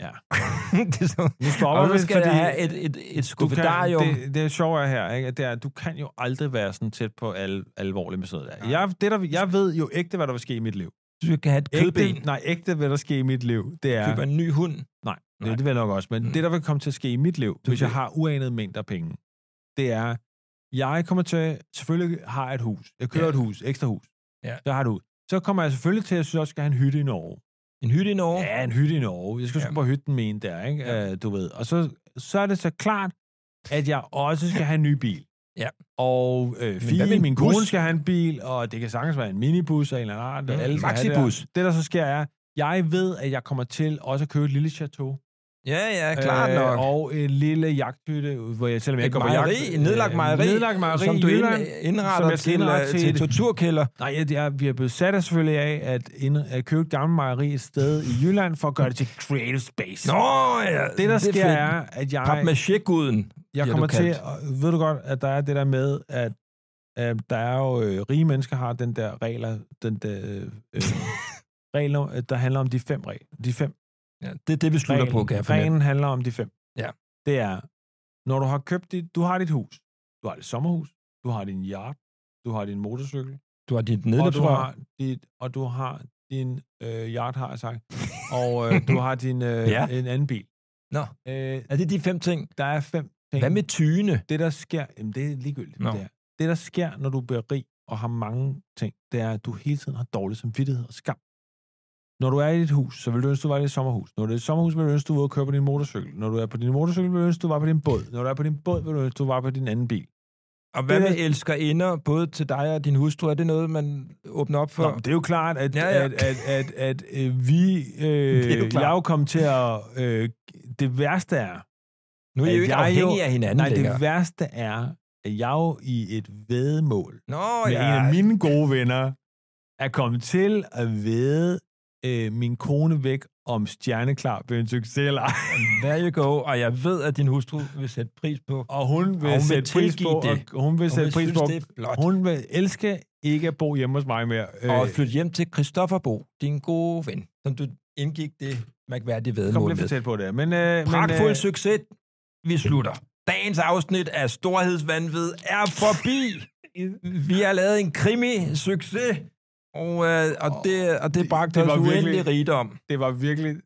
A: Ja.
B: det er så,
A: Nu stopper
B: og
A: vi,
B: så skal jeg have et, et, et
A: du kan,
B: skuffedarium.
A: det, det er sjovt er her, ikke? at det er, at du kan jo aldrig være sådan tæt på al, alvorligt med sådan noget der.
B: Nej.
A: Jeg, det der. jeg ved jo ægte, hvad der vil ske i mit liv.
B: Du skal have et kødben.
A: Ægte, nej, ægte, hvad der sker i mit liv, det er...
B: Køber en ny hund.
A: Nej,
B: Nej.
A: nej. det vil jeg nok også. Men
B: Mm.
A: mm. det, der vil komme til at ske i mit liv,
B: Du
A: hvis
B: vil-
A: jeg har uanede mængder penge, det er, jeg kommer til, selvfølgelig har jeg et hus. Jeg kører
B: Ja.
A: ja. et hus, ekstra hus.
B: Ja.
A: Så har du. Så kommer jeg selvfølgelig til, at jeg synes også, skal have en hytte i Norge.
B: En hytte i Norge.
A: Ja, en hytte i Norge. Jeg skal
B: Ja.
A: sgu på hytten med en der, ikke?
B: Ja.
A: Ja. Øh, du ved. Og så, så er det så klart, at jeg også skal have en ny bil.
B: Ja.
A: Og øh,
B: hvad med
A: fint,
B: en
A: min
B: bus?
A: kone skal have en bil, og det kan sagtens være en minibus af en eller anden art.
B: Mm,
A: og alle skal have
B: maxibus.
A: Det, der. det, der så sker, er, jeg ved, at jeg kommer til også at købe et lille chateau.
B: Ja, ja, klart øh, nok.
A: Og en lille jagthytte, hvor jeg selvom jeg
B: Et
A: ikke går på
B: mejeri,
A: jagt...
B: en nedlagt
A: øh,
B: mejeri,
A: nedlagt mejeri
B: som
A: i
B: du ind-
A: Jylland.
B: indretter
A: som jeg
B: til,
A: skal
B: øh,
A: indrette
B: til,
A: til
B: til
A: et-
B: torturkælder.
A: Nej, jeg, jeg, vi er blevet sat af selvfølgelig af at, ind, at købe et gammelt mejeri et sted i Jylland for at gøre det til creative space.
B: Nå, ja.
A: det, der sker,
B: fedt.
A: er, at jeg,
B: Papmaché-guden.
A: jeg
B: bliver
A: kommer
B: du
A: til...
B: kaldt.
A: at- Ved du godt, at der er det der med, at øh, der er jo... Øh, rige mennesker har den der regler, den der... Øh, øh, regler, øh, der handler om de fem regler. De fem
B: Ja, det er det, vi slutter på, kan jeg fornemme.
A: reglen handler om de fem.
B: Ja.
A: Det er, når du har købt dit, du har dit hus, du har dit sommerhus, du har din yacht, du har din motorcykel,
B: Du har dit
A: og du
B: nedløbsrør.
A: har, dit, og du har din øh, yacht, har jeg sagt, og øh, du har din øh,
B: Ja.
A: ja. en anden bil.
B: Nå.
A: Øh,
B: Er det de fem ting?
A: der er fem ting.
B: Hvad med tyne?
A: Det, der sker, jamen, det er ligegyldigt,
B: Nå.
A: no. det er. Det, der sker, når du bliver rig og har mange ting, det er, at du hele tiden har dårlig samvittighed og skam. Når du er i dit hus, så vil du ønske, du var i dit sommerhus. Når du er i dit sommerhus, vil du ønske, du var ude at køre på din motorcykel. Når du er på din motorcykel, vil du ønske, du var på din båd. Når du er på din båd, vil du ønske, du var på din anden bil.
B: Og hvad
A: Det er-
B: med elskerinder, både til dig og din hustru, er det noget, man åbner op for?
A: Nå, men det er jo klart, at,
B: Ja, ja.
A: at, at, at, at øh, vi... Øh,
B: er jo
A: det er
B: klart.
A: jeg er jo kommet til at... Øh, det værste er...
B: nu er I
A: at
B: jo ikke
A: jeg jo-
B: afhængige af hinanden
A: Nej,
B: længere.
A: det værste er, at jeg jo i et vedmål
B: Nå,
A: med
B: ja.
A: en af mine gode venner er kommet til at vede øh, min kone væk, om Stjerneklar blev en succes eller ej.
B: There you go. Og jeg ved, at din hustru vil sætte pris på.
A: Og hun vil,
B: Og hun vil
A: sætte pris
B: tilgive
A: på...
B: det.
A: Og hun vil sætte
B: vil
A: pris
B: synes,
A: på...
B: det er flot.
A: Hun vil elske ikke at bo hjemme hos mig mere.
B: Øh. Og flytte hjem til Christofferbo, din gode ven, som du indgik det mærkværdige
A: kom
B: vedmål
A: lidt
B: med.
A: for tæt på det. her. Men, øh,
B: Pragtfuld
A: men, øh,
B: succes. Vi slutter. Dagens afsnit af Storhedsvandvid er forbi. Vi har lavet en krimi-succes, og, øh, og, det, og det bragte
A: det
B: det, det
A: var
B: os uendelig
A: virkelig-
B: rigdom. Øh,
A: det var virkelig...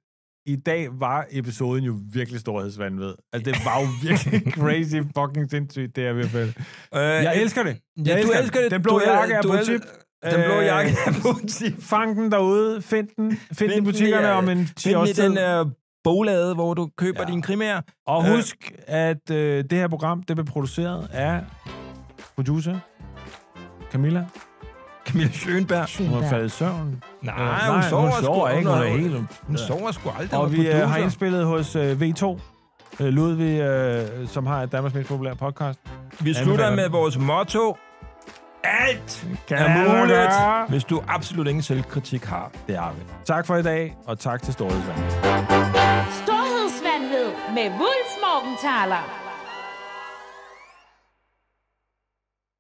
A: I dag var episoden jo virkelig storhedsvandved. Altså, det var jo virkelig crazy fucking sindssygt, det er i hvert fald.
B: Øh,
A: Jeg elsker det. Jeg
B: ja, du
A: elsker det.
B: elsker det.
A: Den blå
B: Du
A: jakke er
B: du
A: på tip.
B: Den blå
A: Øh,
B: jakke er på tip.
A: Fang den derude. Find den. Find den i
B: den i,
A: butikkerne
B: øh,
A: om en 10
B: Find
A: års
B: i
A: tid.
B: den øh, boglade, hvor du køber
A: Ja.
B: ja. dine krimier.
A: Og husk, at øh, det her program, det blev produceret af producer Camilla.
B: Camilla Schönberg.
A: Hun har
C: Schindler.
A: faldet i søvn.
B: Nej,
A: Øh,
B: hun sover
A: hun
B: sgu-
A: sover ikke. Hun er
B: hun-
A: helt...
B: Hun sover sgu aldrig.
A: Og
B: hun er
A: vi øh, har
B: producer.
A: indspillet hos øh, V2. Øh, Ludvig, øh, som har et Danmarks mest populære podcast.
B: Vi slutter
A: Anbefaler
B: med
A: den.
B: vores motto. Alt
A: Kan
B: er
A: gøre.
B: muligt, hvis du absolut ingen selvkritik har.
A: Det har vi. Tak for i dag, og tak til Storhedsvand.
D: Storhedsvandved med Wulf Morgenthaler.